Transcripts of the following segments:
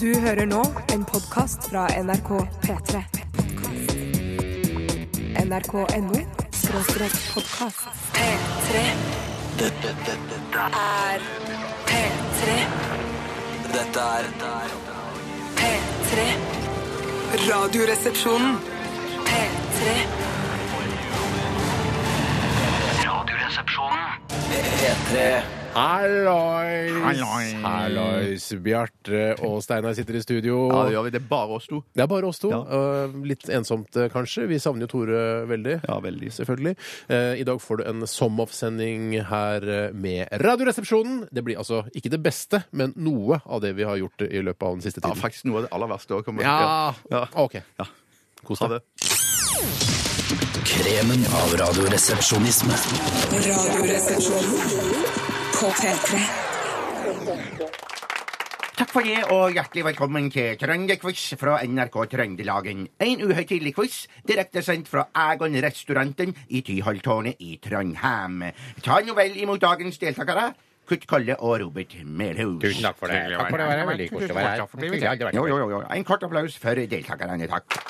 Du hører nå en podkast fra NRK P3. NRK.no skråstrek podkast. P3. Dette, dette, dette, er P3. dette er P3. Radioresepsjonen. P3. Radioresepsjonen P3 Hallois! Hallois! Hallois! Bjarte og Steinar sitter i studio. Ja, det gjør vi. Det er bare oss to. Det er bare oss to. Ja. øh, Litt ensomt, øh, kanskje. Vi savner jo Tore eh, veldig. Ja, veldig. Selvfølgelig. Eh, I dag får du en som-off-sending her eh, med Radioresepsjonen. Det blir altså ikke det beste, men noe av det vi har gjort i løpet av den siste Ja, tiden. faktisk noe av det aller verste òg kommer. Ja. Ja. OK. Ja. Kos Ha deg. det. Kremen av radioresepsjonisme Radioresepsjonen. På P3. Takk for det, og hjertelig velkommen til Trønderquiz fra NRK Trøndelagen. En uhøytidelig quiz direktesendt fra Egon restauranten i Tyholttårnet i Trondheim. Ta nå vel imot dagens deltakere, Kurt Kolle og Robert Melhus. Tusen takk for det. Takk for det, det var veldig koselig å være her. Jo, jo, jo, jo. En kort applaus for deltakerne, takk.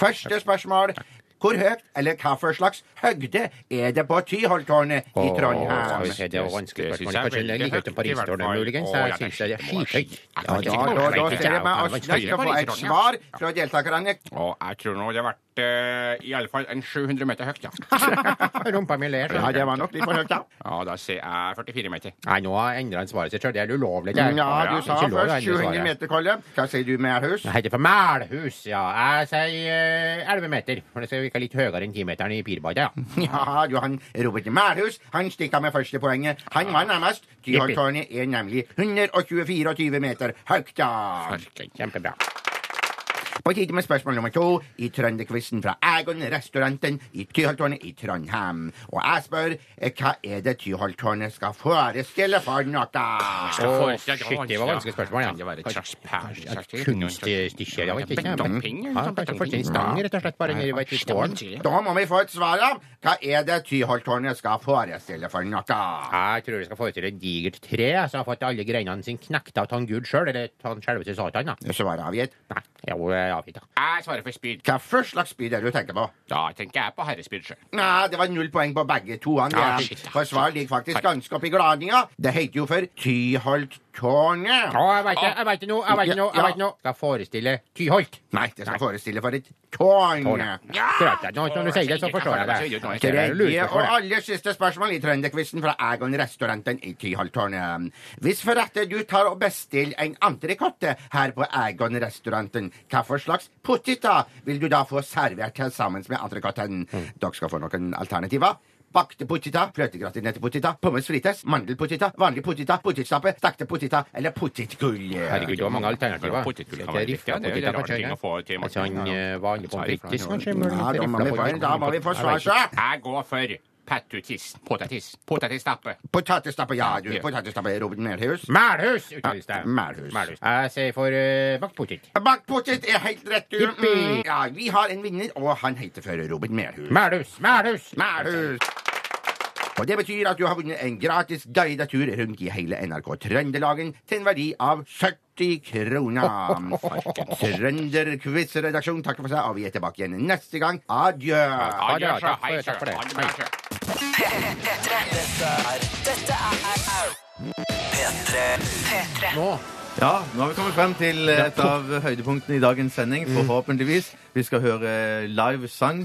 Første spørsmål. Hvor høyt, eller hva for slags høgde, er det på Tyholttårnet i Trondheim? Skal vi se, det var vanskelig spørsmål. Kanskje lenger høyt enn Paristårnet, muligens. Jeg synes det er skyhøyt. Ja, da, da, da ser jeg meg oss nødt til å få et svar fra deltakerne. Og jeg tror nå det har vært eh, i alle fall en 700 meter høyt, ja. Rumpa mi ler. Ja, det var nok litt for høyt, da. Ja, da sier jeg 44 meter. Nei, nå har jeg endret svaret sitt sjøl. Det er ulovlig. det er. Ja, du sa Ikke lov å endre først 700 svaret. meter, Kolle. Hva sier du, Melhus? Jeg heter for Melhus, ja. Jeg sier eh, 11 meter. For det skal virke litt høyere enn 10-meteren i Pirbadet, ja. Ja, du, han Robert Melhus han stikker med første poenget. Han var nærmest. Tyholttårnet er nemlig 124 meter høyt, da. Kjempebra. På tide med spørsmål nummer to i Trønderquizen fra Egon restauranten i Tyholttårnet i Trondheim. Og jeg spør eh, hva er det Tyholttårnet skal forestille for noe? Å, Å, shit, det var vanskelig spørsmål, ja. Kan det være et slags pærestykke? Kunststykker, jeg vet ikke. Ja, sånn betongpinner, Ja, kanskje fullstendig stang, rett og slett, bare nede i et tårn. Da må vi få et svar av hva er det Tyholttårnet skal forestille for noe. Jeg tror vi skal forestille et digert tre som har fått alle greinene sine knekt av han Gud sjøl, eller han selveste Satan, da. Svaret er avgitt. Nei, jo, jeg avgitt, da. Jeg svarer for spyd. Hva for slags by det er du tenker på? Da tenker jeg på herrespyd sjøl. Nei, det var null poeng på begge to. Han, Ah, ja. shit, da. For svaret ligger faktisk ganske oppi gladninga. Det heter jo for Tyholttårnet. Å, jeg veit det, jeg veit det nå, jeg veit det nå, jeg vet det nå. Skal forestille Tyholt. Nei, det skal forestille for et tårn. Ja! Nå, når du sier det, så forstår jeg det. Det er Tredje lurt, og for det. aller siste spørsmål i Trønderquizen fra Egon restauranten i Tyholttårnet. Hvis for rette du tar og bestiller en entrecôte her på Egon restauranten, hva for slags poteter vil du da få servert til sammen med entrecôten? Mm. Dere skal få noen alternativer. Bakte poteter, fløtegratinerte poteter, pommes frites, mandelpoteter, vanlige poteter, potetstappe, stekte poteter eller potetgull. Herregud, det var mange alternativer. Potetgull kan være riktig, ja. Det er jo en rar ting å få til Altså, han Morten. eh, vanlig pommes frites, kanskje? men Ja, da rifla må vi få, på- da må vi få svar, så. Jeg går for pattutis. Potetis. Potetstappe. Potetstappe, ja du. Potetstappe, Robert Melhus. Melhus, uttales det. Ja, Melhus. Jeg sier for uh, bakt potet. Bakt potet er helt rett, du. Jippi. Mm, ja, vi har en vinner, og han heter for Robert Melhus. Melhus, Melhus! Melhus. Og det betyr at du har vunnet en gratis guidet tur rundt i hele NRK Trøndelagen til en verdi av 70 kroner. Trønderquiz-redaksjonen takker for seg, og vi er tilbake igjen neste gang. Adjø. Ha det Ja, bra, takk hei, for- sjø. takk for det. Ha det bra, sjø. Ja, nå har vi kommet frem til eh, et av høydepunktene i dagens sending, forhåpentligvis. Vi skal høre live sang,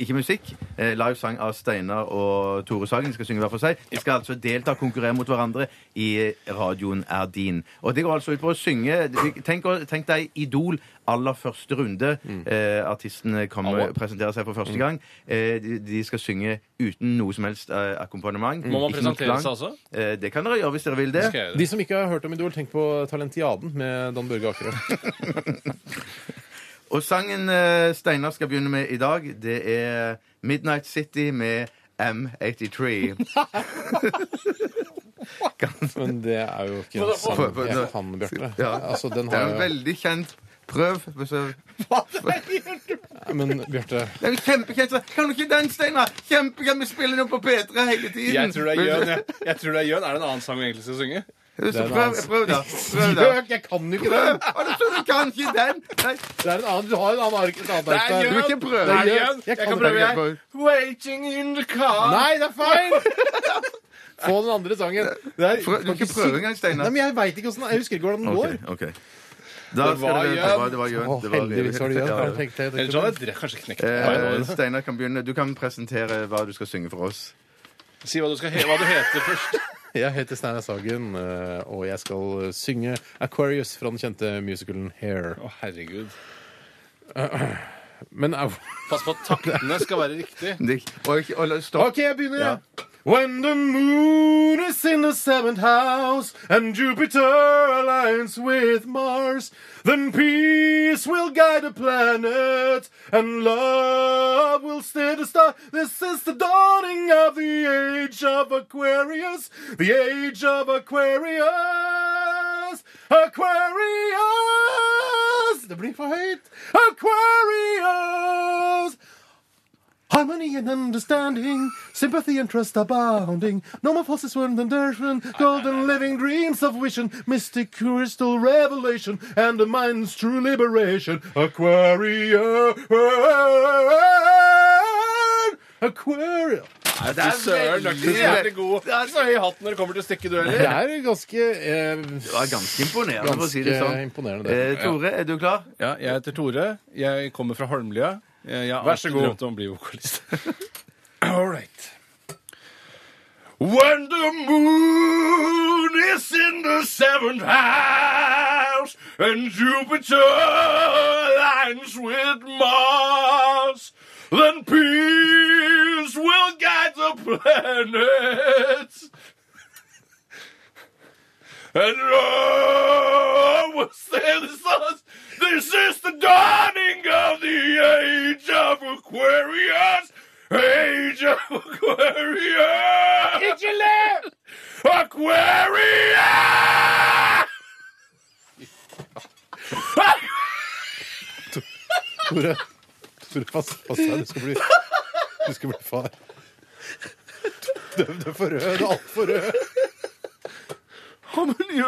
ikke musikk, eh, live sang av Steinar og Tore Sagen. De skal synge hver for seg. De skal altså delta og konkurrere mot hverandre i Radioen er din. Og det går altså ut på å synge Tenk, å- tenk deg Idol aller første runde. Eh, artistene kommer, presenterer seg for første gang. Eh, de, de skal synge uten noe som helst eh, akkompagnement. Må man Ikke noe presentere klang. seg også? Eh, det kan dere gjøre hvis dere vil det. De som ikke har hørt om Idol, tenk på Talentiaden med Dan Børge Akerø. Og sangen eh, Steinar skal begynne med i dag, det er Midnight City med M83. Men det er jo ikke en sang for- for- jeg kan, Bjarte. Ja. Altså, den Det er en har jo veldig kjent prøv. så- Men Bjarte Det er en kjempekjent sang. Kan du ikke den, Steinar? Kjempekjent. Vi spiller den jo på P3 hele tiden. jeg tror det er Jøn. Jeg. Jeg tror det er Jøn. Er det en annen sang vi egentlig skal synge? Prøv, er en prøv, annen- prøv da. Prøv, da. Jeg kan jo ikke den! Å, du tror du kan ikke den? Nei, Det er en annen, du har en annen ark. Et annet ark du vil ikke prøve. Nei, jeg, Jørn. jeg Jeg kan kan prøve, ikke. jeg. Waiting in the car. Nei, det er feil! Få den andre sangen. Det er, Prøv- Du kan ikke prøve engang, Nei, Steinar. men jeg veit ikke hvordan Jeg husker ikke hvordan den går. Ok, ok. Da Det skal var det være- Jørn. det var- Det var Jørn. Å, Det var- heldigvis var det Ja, ja. Jørn. Jeg tenkte- jeg Ellers tenkte- hadde jeg kanskje knekt Eh, meg. Steinar kan begynne. Du kan presentere hva du skal synge for oss. Si hva du, skal he hva du heter først. Jeg heter Steinar Sagen, eh, og jeg skal synge Aquarius fra den kjente musicalen Hair. Å, herregud. Men au. Pass på at taktene skal være riktig. Det, og, ikke- og, la- stopp. OK, jeg begynner. Ja. When the moon is in the seventh house and Jupiter aligns with Mars, then peace will guide the planet and love will steer the star. This is the dawning of the age of Aquarius, the age of Aquarius, Aquarius. Det blir for høyt. Aquarius. Harmony and understanding, sympathy and trust abounding. No more false words than dirtman, golden living dreams of vision, mystic crystal revelation, and the mind's true liberation. Aquarius! Aquarius! Fy søren, du er jævlig god. Det er så høy hatt når det kommer til Det stykkedueller. er ganske eh, Det var ganske imponerende, for å si det sånn. imponerende. Eh, Tore, er du klar? Ja, jeg heter Tore. Jeg kommer fra Holmlia. Jeg har Vær så alltid god. drømt om å bli vokalist. All right. When the moon is in the seventh house and Jupiter aligns with Mars, then peace will guide the planets. And oh, the stars. This is the dawning of the age of Aquarius. Age of Aquarius. Ikke le! Aquarius! Tore, Tore pass, pass deg. Du skal bli, du skal bli far. Du, du er for rød. Du er altfor rød. Harmony,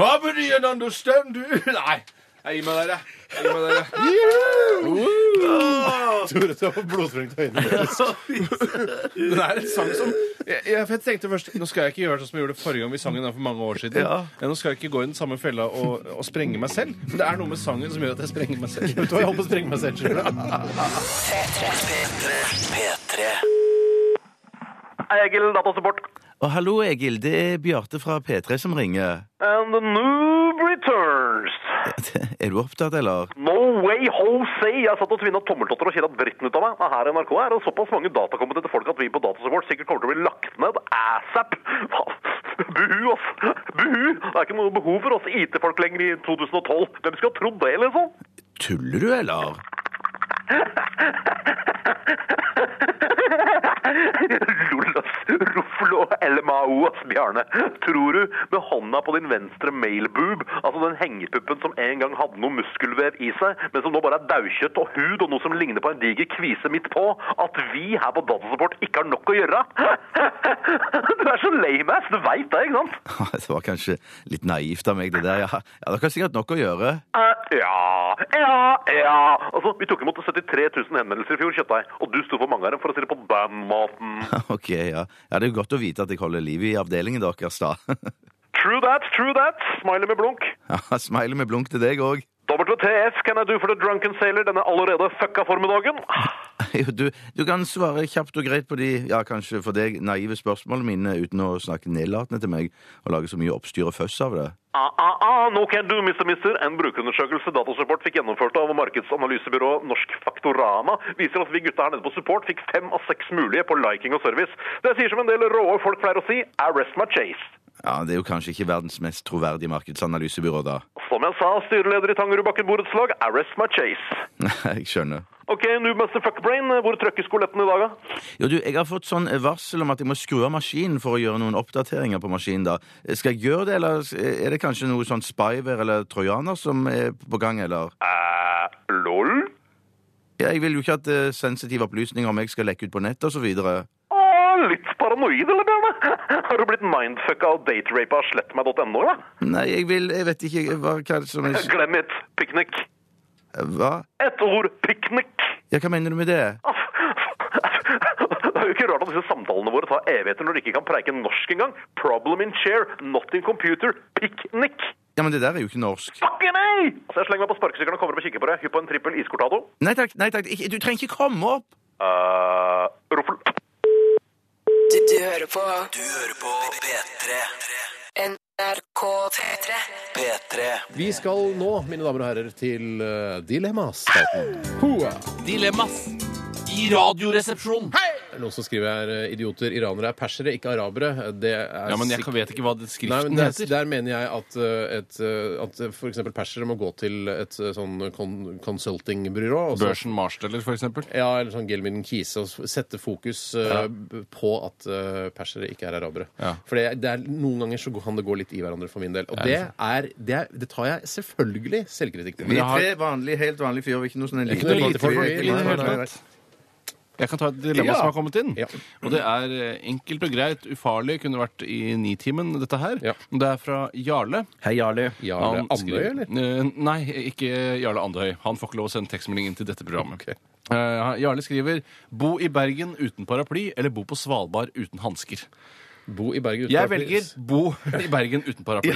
harmony and understanding. Nei, jeg gir meg der, jeg. Jeg gir meg der, jeg. Tore, du har fått blodsprengt øyne. Det er en sang som jeg, jeg, for jeg tenkte først, Nå skal jeg ikke gjøre sånn som jeg gjorde forrige gang vi sang den her for mange år siden. Ja. Nå skal jeg ikke gå i den samme fella og, og sprenge meg selv. Men det er noe med sangen som gjør at jeg sprenger meg selv. Vet du hva, jeg holdt på å sprenge meg selv. skjønner du. P3. Egil, datasupport. Og hallo, Egil. Det er Bjarte fra P3 som ringer. And the noob returns. Er du opptatt, eller? No way, Jose! Jeg satt og tvinna tommeltotter og kjeda dritten ut av meg. Men her i NRK er det såpass mange datakompetente folk at vi på Datasupport sikkert kommer til å bli lagt ned asap. Hva- Buhu, ass. Buhu! Det er ikke noe behov for oss IT-folk lenger i 2012. Hvem skulle ha trodd det, liksom? Tuller du, eller? Lol, ass. Ruffel og LMAO, ass, Bjarne. Tror du med hånda på din venstre mailboob, altså den hengepuppen som en gang hadde noe muskelvev i seg, men som nå bare er daukjøtt og hud og noe som ligner på en diger kvise midt på, at vi her på Datasupport ikke har nok å gjøre? Du er så lame ass, du veit det, ikke sant? Det var kanskje litt naivt av meg, det der. Ja, ja Dere har sikkert nok å gjøre. Eh, ja, ja, ja. Altså, vi tok imot 73 000 henvendelser i fjor, Kjøttdeig, og du sto for mange av dem, for å si det på den måten. Ok, ja. ja. Det er jo godt å vite at jeg holder liv i avdelingen deres, da. True that, true that. Smiley med blunk. Ja, Smiley med blunk til deg òg. WTF can I do for the drunken sailor? Den er allerede fucka formiddagen. Du, du kan svare kjapt og greit på de ja, kanskje for deg naive spørsmålene mine uten å snakke nedlatende til meg og lage så mye oppstyr og føss av det. Ah, ah, ah, no can do, mister, mister. En brukerundersøkelse Datasupport fikk gjennomført av markedsanalysebyrået Norsk Faktorama, viser at vi gutta her nede på support fikk fem av seks mulige på liking og service. Det sier som en del råe folk pleier å si, I rest my chase. Ja, Det er jo kanskje ikke verdens mest troverdige markedsanalysebyrå, da. Som jeg sa, styreleder i Tangerudbakken borettslag, I rest my chase. Nei, jeg skjønner. Ok, Noobmaster Fuckbrain, hvor trøkker skoletten i dag, da? Jo, du, Jeg har fått sånn varsel om at jeg må skru av maskinen for å gjøre noen oppdateringer på maskinen. da. Skal jeg gjøre det, eller er det kanskje noe sånn spyware eller trojaner som er på gang, eller? Eh, lol? Ja, Jeg vil jo ikke at eh, sensitive opplysninger om meg skal lekke ut på nett og så videre. Åh, litt paranoid, eller, Bjørne? Har du blitt mindfucka og daterapa av slettmeg.no, eller? Nei, jeg vil Jeg vet ikke hva, hva er det som er Glem et piknik. Hva? Et ord piknik. Ja, hva mener du med det? Det er jo ikke rart at disse samtalene våre tar evigheter når de ikke kan preike norsk engang. Problem in chair, not in computer. Piknik. Ja, men det der er jo ikke norsk. Fucking ei! Altså, jeg slenger meg på sparkesykkelen og kommer opp og kikker på deg. Hypp på en trippel iscortado. Nei takk, nei takk, ikke, du trenger ikke komme opp! Uh, ruffel. Du, du hører på Du hører på P3. NRK P3. P3. Vi skal nå, mine damer og herrer, til eh, Dilemmaspalten. Hoa. Dilemmas i Radioresepsjonen. Det er Noen som skriver her eh, idioter, iranere er persere, ikke arabere. Det er Ja, men jeg sikkert- vet ikke hva det Nei, men skriften der, heter. der mener jeg at, eh, et, eh, at f.eks. persere må gå til et eh, sånn kon consultingbyrå. og så- Børsen Marsteller, for eksempel. Ja, eller sånn Gelmin Kise, og s- sette fokus eh, b- på at eh, persere ikke er arabere. Ja. For det, det er, noen ganger så kan det gå litt i hverandre for min del. Og det, er, det, er, det tar jeg selvfølgelig selvkritikk Vi på. jeg er har- tre vanlige, helt vanlige fyrer. Ikke noe sånn en Ikke liten noe liten lite folk, fyr, vi- ikke lite noe- folk, Nei, nei. Jeg kan ta et dilemma Ja. som har kommet inn. Ja. Og det er eh, enkelt og greit, ufarlig, kunne vært i Nitimen, dette her. Ja. Det er fra Jarle. Hei, Jarle. Jarle Han Andøy, skriver- Eh, Nei, ikke Jarle Andøy. Han får ikke lov å sende tekstmelding inn til dette programmet. Eh, Jarle skriver 'Bo i Bergen uten paraply eller bo på Svalbard uten hansker'. Bo i Bergen uten Jeg paraply. velger bo i Bergen uten paraply.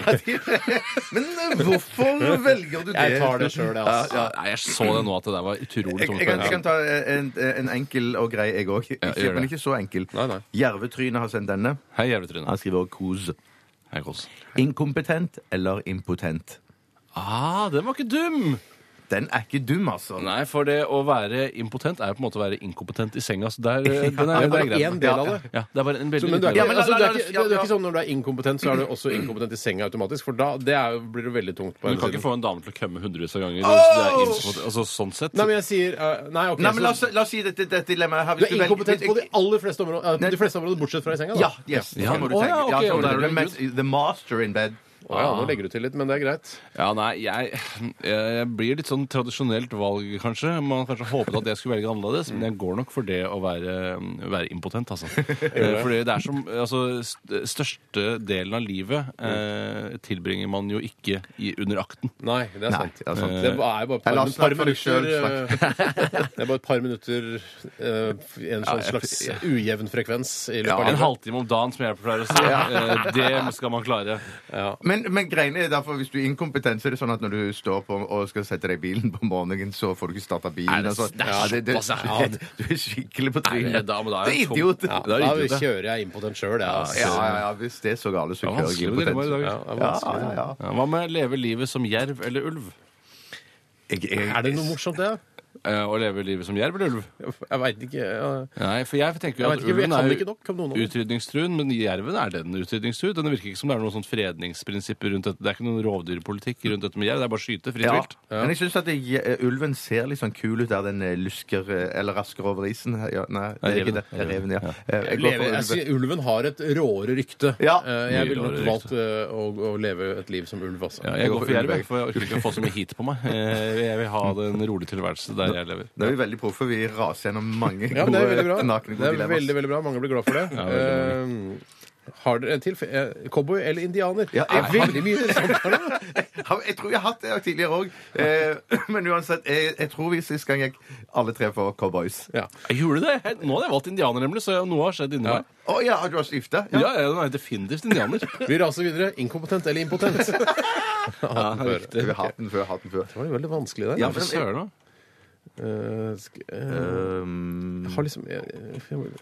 Men eh, hvorfor velger du det? Jeg tar det sjøl, jeg, altså. Ja, Nei, jeg så det nå at det der var utrolig Jeg, tungt. jeg, kan, jeg kan ta en, en enkel og grei, jeg òg. gjør det. Men ikke så enkel. Nei, nei. Jervetryne har sendt denne. Hei, Jervetryne. Han skriver også kos. Hei, Kåss. Inkompetent eller impotent? Ah, den var ikke dum! Den er ikke dum, altså. Nei, for det å være impotent er jo på en måte å være inkompetent i senga. Så der, eh, den Ja, det er, er det er bare greit. en del av det. Ja, det er bare en veldig Så, men du er, ikke, liten del. Ja, men la- altså, du, la- er la- ikke, du ja, er ikke ja. sånn når du er inkompetent, så er du også inkompetent i senga automatisk. For da det er, jo- blir du veldig tungt. på Du en kan side. ikke få en dame til å kømme hundrevis av ganger. hvis du er Åh! impotent. altså, sånn sett. Nei, men jeg sier eh, Nei, OK. Nei, men la oss, så, la oss si dette, dette dilemmaet her. du Hvis er velger- inkompetent på de aller fleste områder, eh, de fleste områder bortsett fra i senga. Da. Ja, yes, Ja. sånn må du Å, tenke. ja, ok, Ja, og sånn må der du er tenke. The master in bed. Å, ja, nå legger du til litt, men det er greit. Ja, nei, jeg, jeg blir litt sånn tradisjonelt valg, kanskje. Man hadde kanskje håpet at jeg skulle velge annerledes, men jeg går nok for det å være, være impotent, altså. Eh, Fordi det er som Altså, st- største delen av livet Mm. eh, tilbringer man jo ikke i, under akten. Nei, det er Nei, sant. det er sant. Det er bare et par, la oss par snakke for deg minutter selv, eh, Det er bare et par minutter eh, En sånn slags ujevn frekvens i løpet av En livet. halvtime om dagen, som jeg pleier å si. Eh, Det skal man klare. Men, men greiene er derfor, hvis du er inkompetent, så er det sånn at når du står på og skal sette deg i bilen på morgenen, så får du ikke starta bilen. Nei, det- altså. det er Ja, såpass, ja. det- Du er skikkelig på Nei, trynet. det- da- men da er Det jeg er tung. idiot. Ja, Da det er idiot, det. kjører jeg impotent sjøl, jeg. Altså. Ja, ja, ja, hvis det er så galt, så Det er kjører jeg vanskelig med dilemma i impotent. dag. Ja, det er vanskelig. Ja, ja, ja. Ja, Hva med leve livet som jerv eller ulv? Jeg, jeg, Er det noe morsomt, det? Eh, Å leve livet som jerv eller ulv? Jeg veit ikke. Ja. Nei, for jeg tenker jo Jeg at vet ikke, jeg ulven kan er ikke nok om noen av jo dem. utrydningstruen, men jerven er den utrydningstruen. Den virker ikke som det er noen sånn fredningsprinsipper rundt dette. Det er ikke noen rovdyrpolitikk rundt dette med jerv. Det er bare å skyte fritt Ja. vilt. Men jeg syns at det, eh, ulven ser litt sånn kul ut der den eh, lusker eh, eller rasker over isen. Ja, nei, det er ikke det. Det er Reven, ja. Eh, Jeg går Leve, for jeg ulven. sier, ulven har et råere rykte. Ja. Eh, Jeg Mye ville nok råere valgt eh, å, å leve et liv som ulv, altså. Ja, jeg går for jerv, ulv, jeg, for jeg orker ikke å få så mye hit på meg. Eh, Jeg vil ha den rolige tilværelse der jeg lever. Nå er vi veldig proffe. Vi raser gjennom mange Ja, men det er veldig bra. gode nakne Det er dilemmaer. veldig, veldig bra. Mange blir glad for det. Ja, veldig Eh, har dere en til? Eh, Cowboy eller indianer? Ja, ah, jeg- Det er veldig mye interessant. Ja, Jeg tror jeg har hatt det tidligere òg. Eh, men uansett, jeg, jeg tror vi sist gang gikk alle tre for cowboys. Ja. Jeg gjorde det! Jeg- Nå hadde jeg valgt indianer, nemlig, så noe har skjedd inni meg. Å ja, har du har skifta? Ja, jeg er definitivt indianer. Vi raser videre. Inkompetent eller impotent? Ja, det var Vi har hatt den før. Hatt den før. jo veldig vanskelig der. Ja, Hva søren, da? Eh, sk- eh, Um, har liksom jeg, jeg, jeg,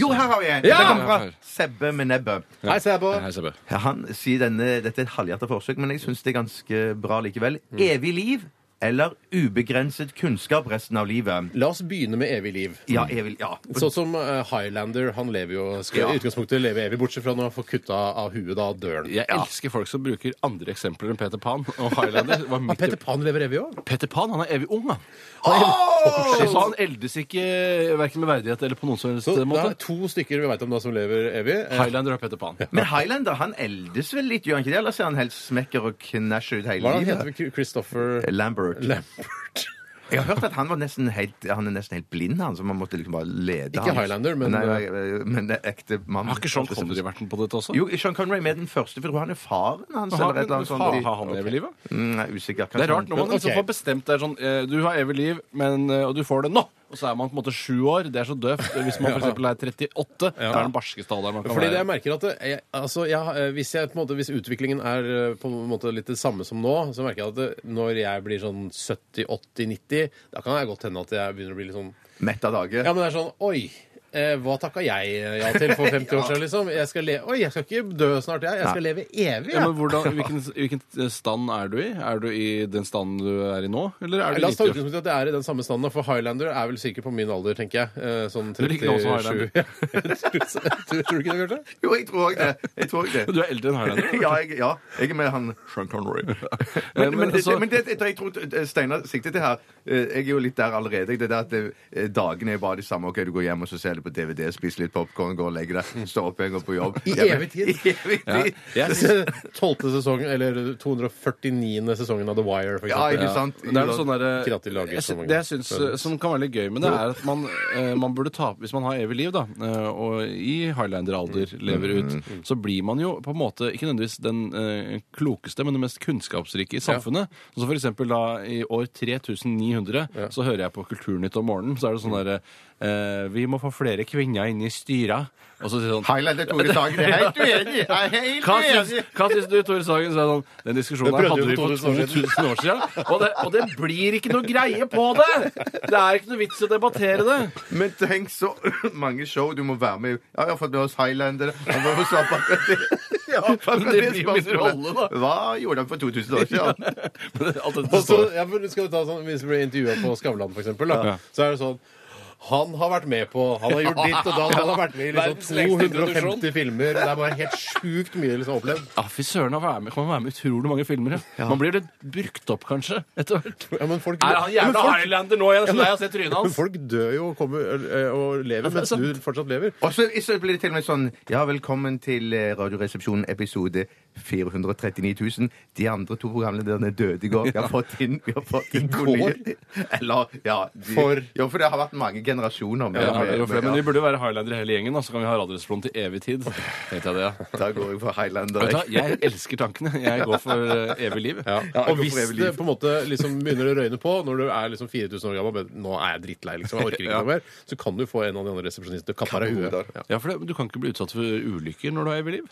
jo, her har vi en! Ja! Det kommer fra Sebbe med nebbet. Hei, Sæbo! Hei, Sebbe. Ja, han sier denne, Dette er et halvhjertet forsøk, men jeg syns det er ganske bra likevel. Evig liv eller ubegrenset kunnskap resten av livet? La oss begynne med evig liv. Ja, evig Ja. Sånn som eh, Highlander, han lever jo skal Ja. i utgangspunktet leve evig, bortsett fra når han får kutta av huet da døren. Jeg elsker folk som bruker andre eksempler enn Peter Pan og Highlander. Det var Ah, mitt- Peter Pan lever evig òg? Peter Pan han er evig ung, han. Åh! Så han eldes ikke eh, verken med verdighet eller på noen som helst Så det måte. er to stykker vi veit om da som lever evig. Eh, Highlander og Peter Pan. Men Highlander han eldes vel litt, gjør han ikke det? Eller ser han helt smekker og knæsjer ut Hva hele er det han livet? heter? Christopher Lambert. Lambert. Jeg har hørt at han var nesten helt, han er nesten helt blind, han, så man måtte liksom bare lede Ikke han. Highlander, men- Nei, nei, men det er ekte mann. Har ikke Sean Connery vært med på dette også? Jo, Sean Connery er med den første, for jeg tror han er faren hans. Har eller et eller annet han- sånt. har han det ved livet? Mm, Nei, usikker. Det er rart når man liksom Ok. får bestemt det er sånn eh, Du har evig liv, men, eh, og du får det nå! Og så er man på en måte sju år. Det er så døvt. Hvis man for eksempel er 38, det er den barskeste alderen man kan Fordi det jeg være. merker at det, jeg, altså jeg, eh, hvis, jeg, på en måte, hvis utviklingen er eh, på en måte litt det samme som nå, så merker jeg at det, når jeg blir sånn 70-80-90, da kan det godt hende at jeg begynner å bli litt sånn Mett av dage. Ja, men det er sånn Oi! Eh, hva takka jeg eh, ja til for 50 år siden, liksom? Jeg skal le Oi, jeg skal ikke dø snart, jeg. Jeg skal leve evig. Ja, jeg. men hvordan, hvilken, hvilken eh, stand er du i? Er du i den standen du er i nå, eller er du La oss ta litt utgangspunkt i at jeg er i den samme standen, da, for Highlander er vel sikkert på min alder, tenker jeg. Eh, Sånn er like gammel som 37. Highlander. Ja. tror, tror du ikke det, Bjarte? Jo, jeg tror også det. Jeg tror også det. Du er eldre enn Highlander. Ja, jeg, ja, jeg er med han Sean Connery. men, men, men det, altså- men det, det jeg tror Steinar sikter til her eh, Jeg er jo litt der allerede. Det der at eh, dagene er bare de samme. Ok, Du går hjem og så ser du på DVD, spiser litt popkorn, går og legger deg, står opp igjen, går på jobb. I Ja, men- evig tid. I evig tid. Jeg synes- 12. sesongen, eller 249. sesongen av The Wire, for Ja, eksempel. ikke sant? Men Det er noe sånn Ikke at de lager derre- jeg så sy- mange Det jeg syns eh, som kan være litt gøy med det, er at man, eh, man burde ta Hvis man har evig liv, da, eh, og i highlander-alder Mm. lever ut, så blir man jo på en måte ikke nødvendigvis den eh, klokeste, men den mest kunnskapsrike i samfunnet. Så for eksempel da i år 3900 så hører jeg på Kulturnytt om morgenen, så er det Mm. sånn derre eh, Vi må få flere kvinner inn i styra. Og så sier sånn Highlander Tore Sagen er helt uenig! Jeg er helt hva syns, uenig! hva syns du, Tore Sagen? Så er det sånn, den diskusjonen Det her prøvde hadde vi jo for for 2000 år 2000 år siden. Og det, og det blir ikke noe greie på det! Det er ikke noe vits å debattere det. Men tenk så mange show du må være med i. Ja, jeg har fått med oss Highlander. Han var jo svart akkurat det. Ja, akkurat men det blir jo min spørsmålet. rolle, da. Hva gjorde han for 2000 år siden? Alt dette Og så, står- ja, for skal vi ta sånn, Hvis vi blir intervjua på Skavlan, for eksempel, da, Ja. så er det sånn han har vært med på Han har gjort ditt og da. Han har vært med i Verdens liksom lengste 250 filmer. Det er bare helt sjukt mye liksom opplevd. Ja, fy søren, han være med- kan man være med i utrolig mange filmer. Ja. Man blir litt brukt opp, kanskje, etter hvert. Ja, men folk, Er han Ja, men jævla folk- Highlander nå igjen? Så lei av å se trynet men hans. folk dør jo og, kommer, ø, ø, og lever mens du fortsatt lever. Og så så blir det til og med sånn Ja, velkommen til eh, Radioresepsjonen episode 439 000. De andre to programlederne døde i går. Vi har fått inn, vi har fått inn to går? nye. Eller ja de, For? Jo, for det har vært mange generasjoner med. Ja, det er jo med- flere, med- men vi ja. burde jo være Highlander hele gjengen, da, så kan vi ha Radioresepsjonen til evig tid. Tenkte jeg det, ja. Da går jeg for Highlander. Vet du hva, jeg. Jeg elsker tankene. Jeg går for eh, evig liv. Ja, jeg og går hvis for evig det liv. på en måte liksom begynner å røyne på, når du er liksom 4000 år gammel men Nå er jeg drittlei, liksom. Jeg orker ikke Ja. noe mer. Så kan du få en av de andre resepsjonistene til å kappe av deg Hodar. huet. Ja. Ja, for det, Du kan ikke bli utsatt for ulykker når du har evig liv.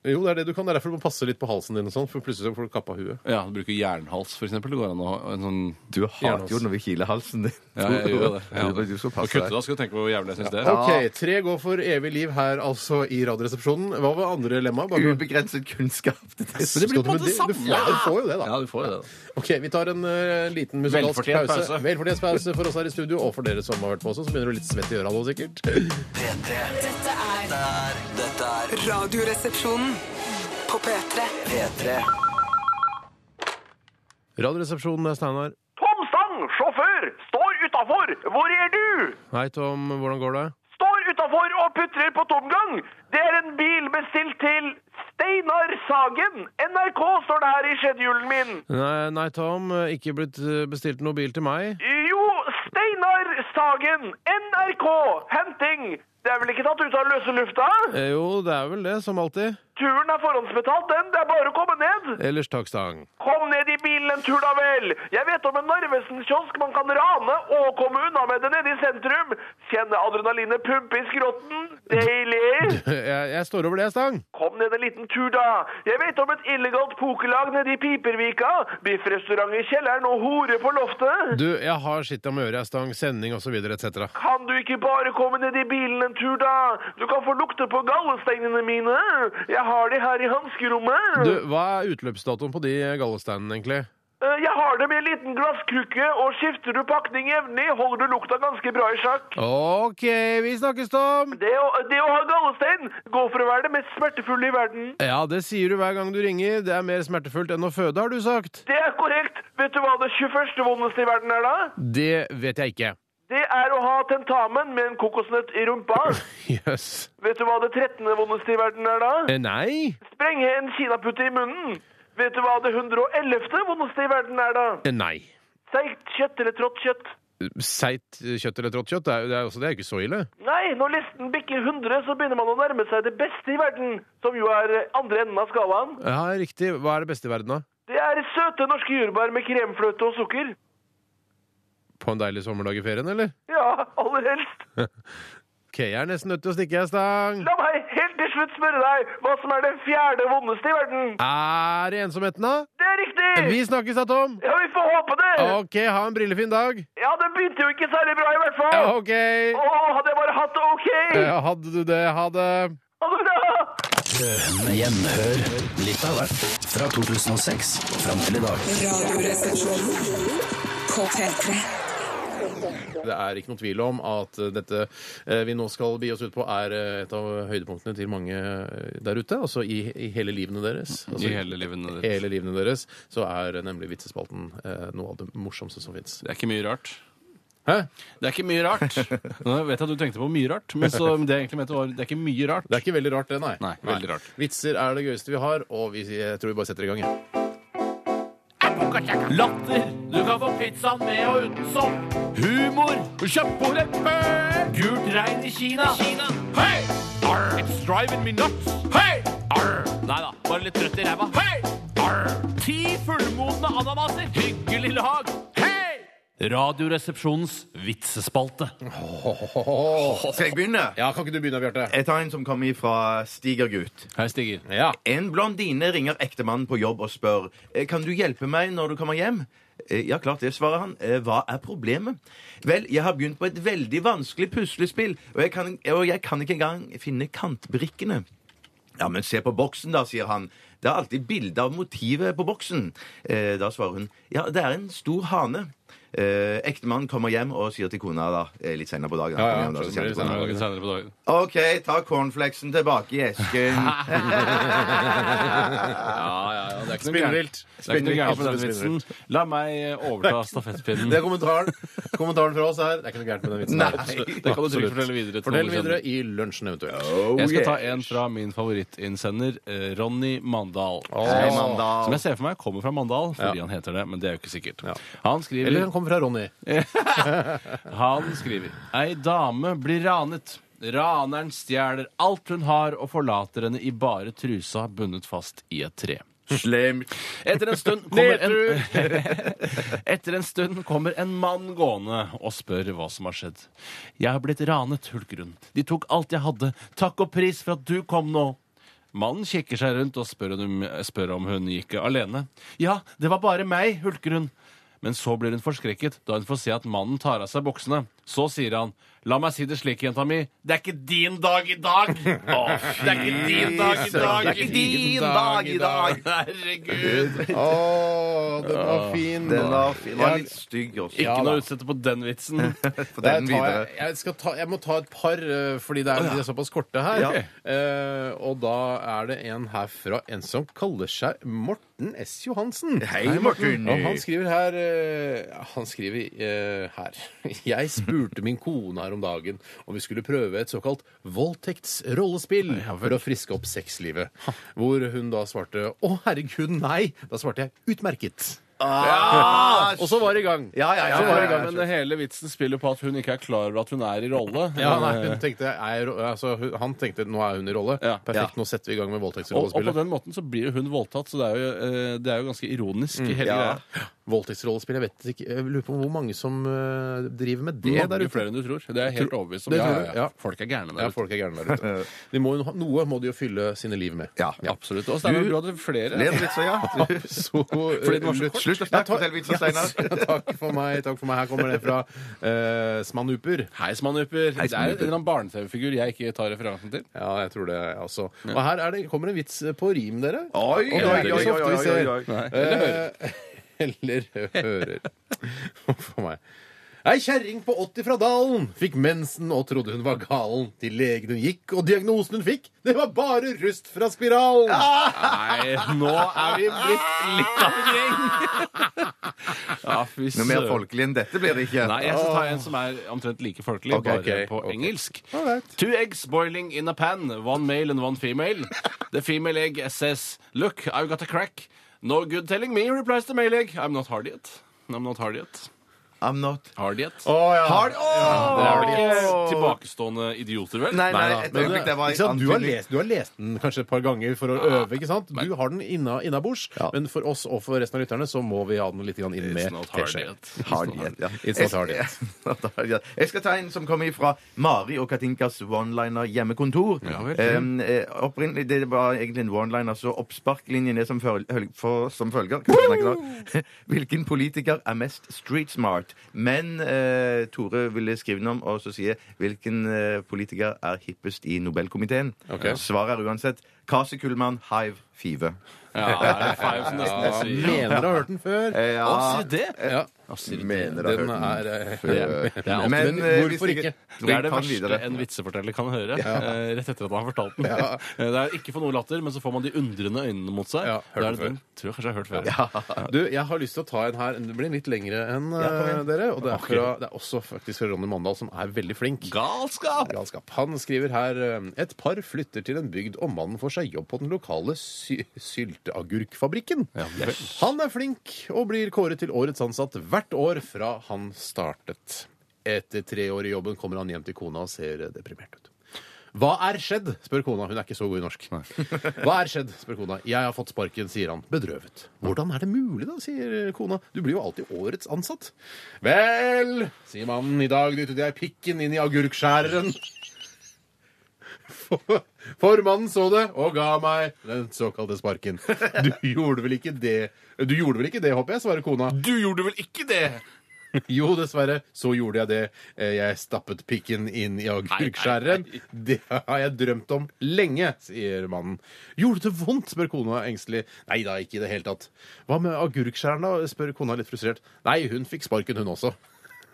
Jo, det er det du kan. Det er derfor du må passe litt på halsen din, og sånn, for plutselig så får du kappa huet. Ja, du bruker jernhals, for eksempel. Det går an å ha en sånn Du hater jo når vi kiler halsen din. Ja, jeg gjør det. Ja. Du, du skal Å passe kutte, deg. da skal du tenke på hvor jævlig jeg syns det er. Ok, Tre går for evig liv her altså i Radioresepsjonen. Hva var andre lemma? Bare- Ubegrenset kunnskap. Det er Men det blir på en måte samme! Du, får- du får jo det, da. Ja, du får jo det, da. Ok, Vi tar en eh, liten musikalsk Velfortjent pause. pause. Velfortjent pause for oss her i studio, og for dere som har hørt på også, så begynner du litt svett i øra nå, sikkert. P3. Dette er Der. Dette er Radioresepsjonen. på P3. P3. Radioresepsjonen eh, er Steinar. Tom Stang, sjåfør, står utafor! Hvor er du? Hei, Tom. Hvordan går det? Står utafor og putrer på tomgang! Det er en bil bestilt til Steinar Sagen! NRK står det her i skjedjulen min! Nei, nei Tom. Ikke blitt eh, bestilt noe bil til meg. Jo, Steinar Sagen! NRK! Henting! Det er vel ikke tatt ut av løse lufta? Eh, Jo, det er vel det, som alltid. Turen er forhåndsbetalt, den. Det er bare å komme ned. Ellers takk, Stang. Kom ned i bilen en tur, da vel. Jeg vet om en Narvesen-kiosk man kan rane og komme unna med det nede i sentrum. Kjenne adrenalinet pumpe i skrotten. Deilig! Jeg, jeg står over det, Stang. Kom ned en liten tur, da. Jeg vet om et illegalt pokerlag nede i Pipervika. Biffrestaurant i kjelleren og hore på loftet. Du, jeg har skittet med øret, jeg, Stang. Sending osv. etc. Kan du ikke bare komme ned i bilen en tur, da? Du kan få lukte på gallesteinene mine. Jeg har de her i hanskerommet. Du, hva er utløpsdatoen på de gallesteinene, egentlig? Eh, Jeg har dem i en liten glasskrukke, og skifter du pakning jevnlig, holder du lukta ganske bra i sjakk. OK, vi snakkes, Tom! Det å, det å ha gallestein går for å være det mest smertefulle i verden. Ja, det sier du hver gang du ringer. Det er mer smertefullt enn å føde, har du sagt. Det er korrekt. Vet du hva det 21. vondeste i verden er, da? Det vet jeg ikke. Det er å ha tentamen med en kokosnøtt i rumpa. Jøss. Vet du hva det 13. vondeste i verden er da? Eh, Nei. Sprenge en kinaputte i munnen. Vet du hva det 111. vondeste i verden er da? Eh, Nei. Seigt kjøtt eller trått kjøtt? Seigt kjøtt eller trått kjøtt, det er, jo- det er, jo også, det er jo ikke så ille. Nei, når listen bikker 100, så begynner man å nærme seg det beste i verden, som jo er andre enden av skalaen. Ja, riktig. Hva er det beste i verden, da? Det er søte norske jordbær med kremfløte og sukker. På en deilig sommerdag i ferien, eller? Ja, aller helst. OK, jeg er nesten nødt til å stikke, jeg, Stang. La meg helt til slutt spørre deg hva som er det fjerde vondeste i verden. Er det ensomheten, da? Det er riktig! Vi snakkes da, Tom. Ja, vi får håpe det! OK, ha en brillefin dag. Ja, det begynte jo ikke særlig bra i hvert fall. Ja, ok. Å, hadde jeg bare hatt det ok! Eh, Hadde du det? Ha det. Ha det bra! Med hjemhør litt av hvert fra 2006 og fram til i dag. Radioresepsjonen på P3. Det er ikke noe tvil om at eh, dette eh, vi nå skal bi oss ut på, er eh, et av høydepunktene til mange eh, der ute. Altså i, i hele livene deres. Altså, I hele livene deres. hele livene deres så er eh, nemlig vitsespalten eh, noe av det morsomste som fins. Det er ikke mye rart. Hæ? Det er ikke mye rart. Nå vet jeg at du tenkte på mye rart, men så, det jeg egentlig mente var det er ikke mye rart. Det er ikke veldig rart, det, nei. Nei, veldig rart. Vitser er det gøyeste vi har, og vi, jeg tror vi bare setter i gang. jeg. Latter. Du kan få pizzaen med og uten sopp. Humor. Kjøttbordet pøl. Gult regn i Kina. Hei! Arr. It's driving me nuts. Hei! Arr. Nei da, bare litt trøtt i ræva. Hei! Arr. Ti fullmodne ananaser. Hyggelig lag. Hei! Radioresepsjonens vitsespalte. Skal jeg begynne? Ja, Kan ikke du begynne, Bjarte? Jeg tar en som kommer fra Stigergut. Hei, Stiger. En blondine ringer ektemannen på jobb og spør «Eh, Kan du hjelpe meg når du kommer hjem. «Eh, Ja, klart det, svarer han. «Eh, Hva er problemet? Vel, jeg har begynt på et veldig vanskelig puslespill, og jeg kan, og jeg kan ikke engang finne kantbrikkene. Ja, men se på boksen, da, sier han. Det er alltid bilde av motivet på boksen. Eh, da svarer hun ja, det er en stor hane. Eh, Ektemannen kommer hjem og sier til kona da, eh, litt senere på dagen han kommer hjem, da, så sier han til kona, Senere på dagen. OK, ta cornflakesen tilbake i esken. Ja, ja, ja. Det er ikke noe Spinnvilt. gærent. Det er ikke noe gærent med den Absolutt vitsen. La meg eh, overta stafettpinnen. Det er kommentaren. kommentaren fra oss her. Det er ikke noe gærent med den vitsen. Nei. Absolutt. Det kan du trygt Absolutt. fortelle videre til Fortell noen du videre i lunsjen eventuelt. Oh, Jeg skal ta en fra min favorittinnsender, eh, Ronny Mandal. Hei, Mandal. Som jeg ser for meg kommer fra Mandal, fordi han heter det, men det er jo ikke sikkert. Han skriver Eller den kommer fra Ronny. Han skriver Ei dame blir ranet. Raneren stjeler alt hun har og forlater henne i bare trusa bundet fast i et tre. Slemt. Etter en stund kommer en, Etter en stund kommer en mann gående og spør hva som har skjedd. Jeg har blitt ranet, hulker hun. De tok alt jeg hadde. Takk og pris for at du kom nå. Mannen kikker seg rundt og spør om, spør om hun gikk alene. Ja, det var bare meg, hulker hun. Men så blir hun forskrekket da hun får se at mannen tar av seg boksene. Så sier han, la meg si det slik, jenta mi, det er ikke din dag i dag! Å, det er ikke din dag i dag! Det er ikke din dag i dag! Herregud! Å, den var fin. Den var, fin. Den var litt stygg også. Ikke Ja, da. noe å utsette på den vitsen. For Der den tar videre. jeg, jeg, skal ta, jeg må ta et par, eh, fordi det er, de er såpass korte her. Ja. Eh, og da er det en herfra, en som kaller seg Morten S. Johansen. Hei, Morten. Og han skriver her eh, Han skriver eh, her. Jeg spurte min kone her om dagen om vi skulle prøve et såkalt voldtektsrollespill for å friske opp sexlivet. Hvor hun da svarte 'Å, herregud, nei'. Da svarte jeg 'Utmerket'. Ah, Og så var det i gang. Ja, ja, ja, Så var det ja, i gang. ja. Men det hele vitsen spiller på at hun ikke er klar over at hun er i rolle. Eh, Ja, nei, hun tenkte, jeg, er ro- altså, hun- han tenkte nå er hun i rolle. Ja. Perfekt, nå setter vi i gang med og, og på voldtektsrollespillet. den måten så blir jo hun voldtatt, så det er jo, eh, det er jo ganske ironisk. hele ja. greia. Voldtektsrollespill, Mm, jeg vet ikke, jeg lurer på hvor mange som eh, driver med det Det der er ute. flere enn du tror. Det er jeg helt overbevist om. Det tror jeg, ja. Folk er gærne der Ja, ute. folk er gærne der ute. De må, jo ha- noe må de jo fylle sine liv med. Ja. Absolutt. Og så er det bra at det er flere. Ler litt, så ja. Så, eh, det var så kort. Slutt å snakke, fortell vitsen, Steinar. takk for meg. takk for meg. Her kommer det fra eh, Smanuper. Hei, Smanuper. Det er en Smanuper. eller annen barne-TV-figur jeg ikke tar referansen til. Ja, jeg tror det, altså. Og her er det, kommer det en vits på rim, dere. Oi, Og det er oi, ikke så oi, ofte vi oi, ser. oi, oi. Eh, Eller hører. Huff a meg. Ei kjerring på 80 fra Dalen fikk mensen og trodde hun var galen. Til legen hun gikk, og diagnosen hun fikk, det var bare rust fra spiralen! Nei, nå er vi blitt litt av en gjeng! Ja, fy Noe mer søren. folkelig enn dette blir det ikke. Nei, jeg skal ta en som er omtrent like folkelig, Ok, bare ok, på ok. engelsk. Alright. Two eggs boiling in a pan, one male and one female. The female egg says, look, I've got a crack. No good telling me, replies the male egg. I'm not hard yet. I'm not hard yet. I'm not Hard yet? Å, ja. Hard, Åh! Ja, Dere er vel ikke Åh! tilbakestående idioter, vel? Nei, nei, et Men øyeblikk, det- det var ikke sant, du, har antydning. lest, du har lest den kanskje et par ganger for å øve, ikke sant? Du har den inna- innabords, men for oss og for resten av lytterne så må vi ha den litt grann inn med not hard teskje. Hard yet, ja. It's not hard Jeg- Not hard yet. Jeg skal ta en som kommer fra Mari og Katinkas one-liner hjemmekontor. vel. Em, eh, opprinnelig, det var egentlig en one-liner, så oppsparklinjen er som, føl høl- for, som følger Kan jeg snakke nå? Hvilken politiker er mest street smart? Men eh, Tore ville skrive den om, og så sier hvilken eh, politiker er hippest i Nobelkomiteen? Ok. Svaret er uansett Kasi Kullmann, Hive, Five. Ja, det er Five som nesten passer. Mener du har hørt den før? Eh, Ja. Å, sier det? Ja. Mener du har Den hørt er, eh, den det er- det er alltid- men eh, hvorfor hvis Det ikke? er det Ta den verste videre. en vitseforteller kan høre. Ja. eh, Rett etter at han har fortalt den. Ja. Eh, Det er ikke for noe latter, men så får man de undrende øynene mot seg. Ja, det hørt er den den tror jeg kanskje jeg har hørt før. Du, jeg har lyst til å ta en her. Det blir litt lengre enn eh, dere. Og det er, fra, det er også faktisk fra Ronny Mandal, som er veldig flink. Galskap! Han skriver her eh, et par flytter til en bygd, og mannen får seg jobb på den lokale sy sylteagurkfabrikken. Han er flink og blir kåret til årets ansatt hvert år fra han startet. Etter tre år i jobben kommer han hjem til kona og ser eh, deprimert ut. Hva er skjedd? spør kona. Hun er ikke så god i norsk. Hva er skjedd? spør kona. Jeg har fått sparken, sier han, bedrøvet. Hvordan er det mulig, da? sier eh, kona. Du blir jo alltid årets ansatt. Vel, sier mannen, i dag dyttet jeg pikken inn i agurkskjæreren. For- Formannen så det og ga meg den såkalte sparken. Du gjorde vel ikke det, Du gjorde vel ikke det, håper jeg, svarer kona. Du gjorde vel ikke det? Jo, dessverre, så gjorde jeg det. Eh, Jeg stappet pikken inn i agurkskjæreren. Det har jeg drømt om lenge, sier mannen. Gjorde det vondt? spør kona engstelig. Nei da, ikke i det hele tatt. Hva med agurkskjæreren, da? spør kona litt frustrert. Nei, hun fikk sparken, hun også.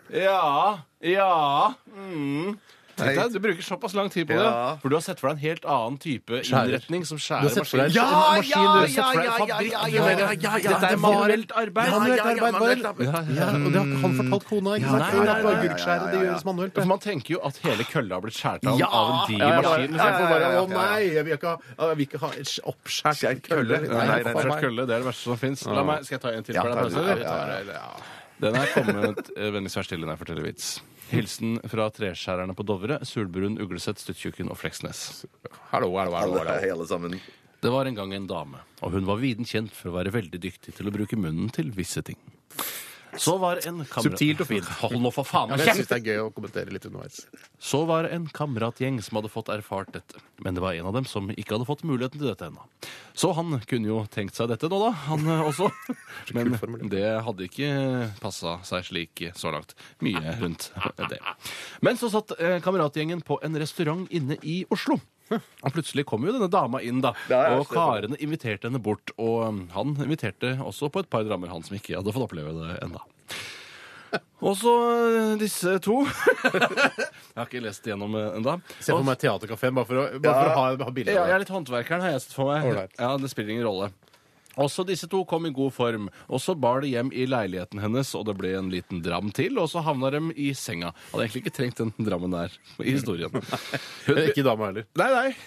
Ja. Ja. Mm. Tenk deg, Du bruker såpass lang tid på det, Ja. for du har sett for deg en helt annen type Skjærer. innretning som Du skjærer har sett for deg en- maskiner. en maskin, du har sett for deg en fabrikk, du mener. Dette er manuelt arbeid. Ja, Manuelt ja, ja, arbeid, manuelt bare. arbeid. Ja, og det har ikke han fortalt kona, ikke sant? Det er agurkskjæret, det gjøres manuelt, det. For man tenker jo at hele kølla har blitt skåret av, Ja! av en diger Ja, ja, ja, maskin. ja, ja, ja, ja, ja. istedenfor bare, Nei, jeg vil ikke ha, jeg vil ikke ha et oppskjært kølle. Nei, nei, nei, faen skjørt meg. kølle, det er det verste som fins. Ja. Skal jeg ta en til? Ja, for deg, ta pause, det. eller? Ja, ja, ja. Den er kommet eh, vennligst vær stille når jeg forteller vits. Hilsen fra treskjærerne på Dovre, Sulbrun, Ugleseth, Stuttjukken og Fleksnes. Hallo, hallo, hallo, hallo. Hei, sammen. Det var en gang en dame, og hun var viden kjent for å være veldig dyktig til å bruke munnen til visse ting. Så var en kamerat... Subtilt og fint. Hold nå for faen Ja, av men Jeg syns det er gøy å kommentere litt underveis. Så var det en kameratgjeng som hadde fått erfart dette. Men det var en av dem som ikke hadde fått muligheten til dette ennå. Så han kunne jo tenkt seg dette nå, da, han eh, også. Men det hadde ikke passa seg slik eh, så langt. Mye rundt det. Men så satt eh, kameratgjengen på en restaurant inne i Oslo. Og plutselig kom jo denne dama inn, da. Ja, ja, Og karene inviterte henne bort. Og eh, han inviterte også på et par drammer, han som ikke hadde fått oppleve det ennå. Og så eh, disse to. Jeg har ikke lest igjennom eh, enda. Se for meg Theatercaféen, bare for å, bare for å ha, ha bildet. Ja, jeg er litt håndverkeren, har jeg sett for meg. Ålreit. Ja, Det spiller ingen rolle. Også disse to kom i god form, og så bar det hjem i leiligheten hennes, og det ble en liten dram til, og så havna dem i senga. Hadde egentlig ikke trengt den drammen der i historien. Ikke dama heller. Nei, nei.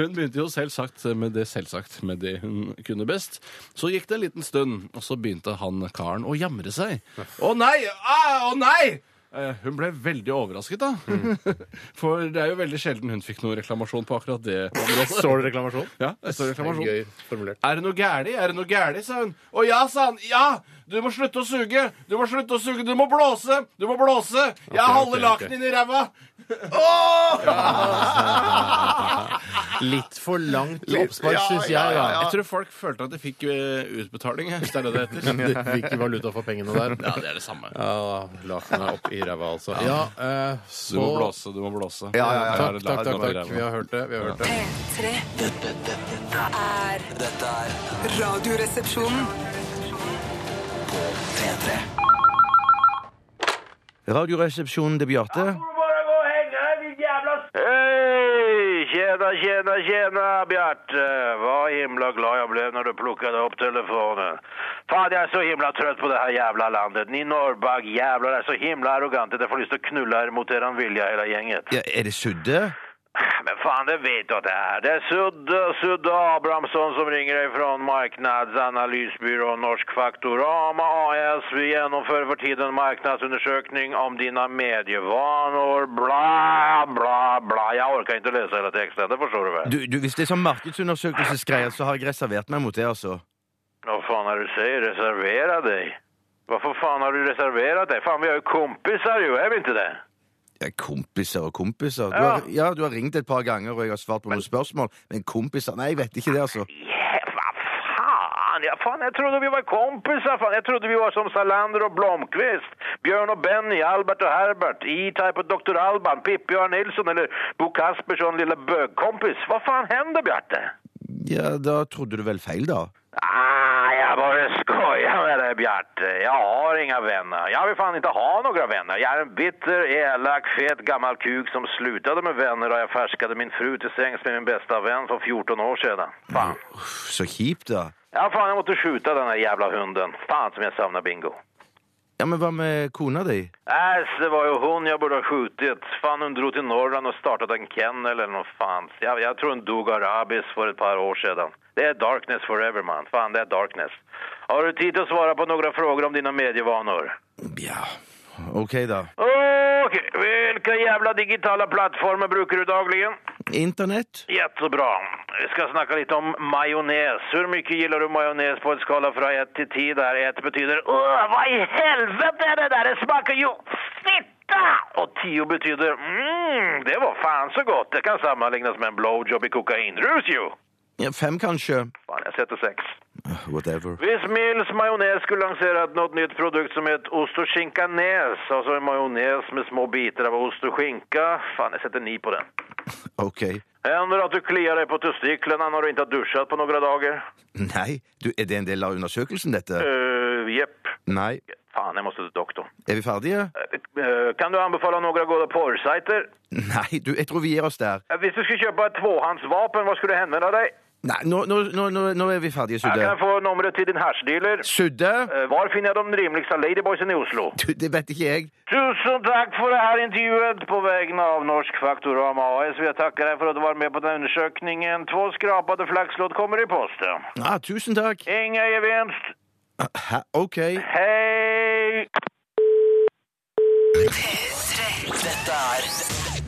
Hun begynte jo selvsagt med det selvsagt med det hun kunne best. Så gikk det en liten stund, og så begynte han karen å jamre seg. Å nei! Ah, Å nei! Eh, Hun ble veldig overrasket, da. For det er jo veldig sjelden hun fikk noen reklamasjon på akkurat det. området. Står det reklamasjon? Ja, det står reklamasjon. Det er Gøy formulert. Er det noe gærlig? Er det noe gærlig? sa hun. Å ja, sa han. Ja! Du må slutte å suge! Du må slutte å suge! Du må blåse! Du må blåse! Jeg ok, holder ok. lakenet inni ræva! Åh! Litt for langt oppspark, syns jeg. da. Jeg tror folk følte at de fikk eh, utbetaling, jeg, hvis det er det det heter. De fikk valuta for pengene der. Ja, det er det samme. Ja, Lakenet er opp i ræva, altså. Ja, eh, Du så må blåse, du må blåse. Ja, ja, ja. Det er- Takk, takk, det er- takk, det er- takk. Vi har hørt det. Vi har hørt det. P3. Dette er Dette er Radioresepsjonen. P3. Radioresepsjonen til Bjarte. Hei, tjena, tjena, tjena, Bjarte. Hva himla glad jeg ble når du plukket opp telefonen. Faen, jeg er så himla trøtt på det her jævla landet. Ni norrbag jævlar er så himla arrogante at jeg får lyst til å knulle her mot dere vilja hele gjengen. Ja, er det sudde? men fan, det vet du att det är. Det är Sudde, Sudde Abrahamsson som ringer dig från marknadsanalysbyrån Norsk Faktorama AS. Vi genomför för tiden en marknadsundersökning om dina medievanor. Bla, bla, bla. Jag orkar inte läsa hela texten, det förstår du väl? Du, du, hvis det er sånn markedsundersøkelsesgreier, så har jeg reservert meg mot det, altså. Vad fan är det du säger? Reservera dig? Varför fan har du reserverat dig? Fan, vi är ju kompisar ju, är vi inte det? Ja, kompiser og kompiser. Du har, ja, du har ringt et par ganger, og jeg har svart på noen spørsmål, men kompiser Nei, jeg vet ikke det, altså. Fan, ja, fan, jag trodde vi var kompisar. Fan. Jag trodde vi var som Salander och Blomkvist, Björn och Benny, Albert och Herbert, E-Type och Dr. Alban, Pippi och Arne Nilsson eller Bo Kaspersson, lilla bögkompis. Vad fan händer, Bjarte? Ja, da trodde du vel feil, da? Ah, jag bara skojar med dig, Bjarte. Jag har inga vänner. Jag vill fan inte ha några vänner. Jag är en bitter, elak, fet gammal kuk som slutade med vänner och jag färskade min fru till sängs med min bästa vän för 14 år sedan. Fan. Uff, Så kjipt, da. Ja, fan, jag måste skjuta den här jävla hunden. Fan som jag savnar bingo. Ja, Men hva med kona di? Äsch, det var ju hon jag borde ha skjutit. Fan, hon drog till Norrland och startade en kennel eller nåt fan. Jag, jag tror hon dog av rabies för ett par år sedan. Det är darkness forever, man. Fan, det är darkness. Har du tid att svara på några frågor om dina medievanor? OK, da. Okej, vilka jävla digitala plattformar brukar du dagligen? Internett? Jättebra. Vi ska snacka lite om majonnäs. Hur mycket gillar du majonnäs på en skala från 1 till 10 där 1 betyder Åh, vad i helvete är det där? Det smakar ju fitta! Och 10 betyder mm, det var fan så gott. Det kan sammanlignas med en blowjob i kokainrus ju. Ja, fem, kanskje? Fan, jag sätter sex. Whatever. Hvis Mills Majonäs skulle lansera ett något nytt produkt som heter ost och skinkanäs, alltså altså en majonnäs med små bitar av ost och skinka. Fan, jag sätter ni på den. OK. Händer det att du kliar dig på testiklarna när du inte har duschat på några dagar? Nei, du, er det en del av undersøkelsen, dette? Uh, jepp. Nei. Fan, jag måste till doktorn. Er vi ferdige? Eh, kan du anbefala några goda porrsajter? Nei, du, jeg tror vi gir oss der. Eh, Hvis du skulle köpa ett tvåhandsvapen, vad skulle hända med dig? Nei, nå, nå, nå, nå, nå er vi ferdige, Jag Sudde. kan få numret till din haschdealer. Sudde? Eh, Var finner jag de rimligsta ladyboysen i Oslo? Du, det vet ikke jeg. Tusen tack för det här intervjuet på vägna av Norsk Faktorama AS. Jag tackar dig för att du var med på den här undersökningen. Två skrapade flaxlåd kommer i posten. Ah, tusen takk. Inga i vinst. Hæ, OK. Hej! Dette er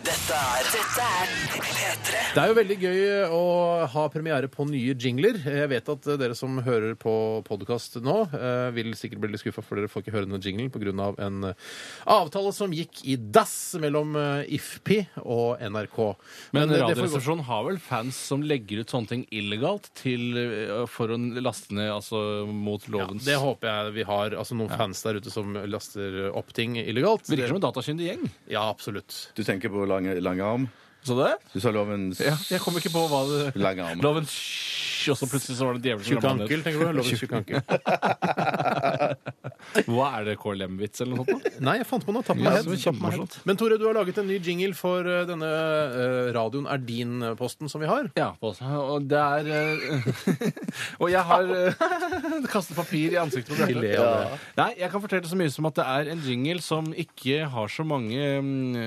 Dette er Dette er P3. Det er jo veldig gøy å ha premiere på nye jingler. Jeg vet at eh, dere som hører på podkast nå, eh, vil sikkert bli litt skuffa, for dere får ikke høre denne jinglen pga. en eh, avtale som gikk i dass mellom eh, IFPI og NRK. Men, eh, det får gå- Radioresepsjonen har vel fans som legger ut sånne ting illegalt til, eh, for å laste ned altså, mot lovens det håper jeg vi har. altså Noen fans der ute som laster opp ting illegalt. Virker som en datakyndig gjeng. Ja, absolutt. Du tenker på lange, lange arm? Så det? Du sa lovens Ja, jeg kom ikke på hva det Lang arm. Lovens sj, og så plutselig så var det djevelen som Tjukk ramlet ned. ankel, tenker du? Lovens tjukk ankel. Hva er det, KLM-vits eller noe sånt? da? Nei, jeg fant på noe. Tapp Ja, meg det var helt. kjempemorsomt. Men Tore, du har laget en ny jingle for eh, denne eh, radioen er din-posten som vi har. Ja, og det er Og jeg har eh, kastet papir i ansiktet på Bjarte. Ikke le av det. Nei, jeg kan fortelle så mye som at det er en jingle som ikke har så mange mm,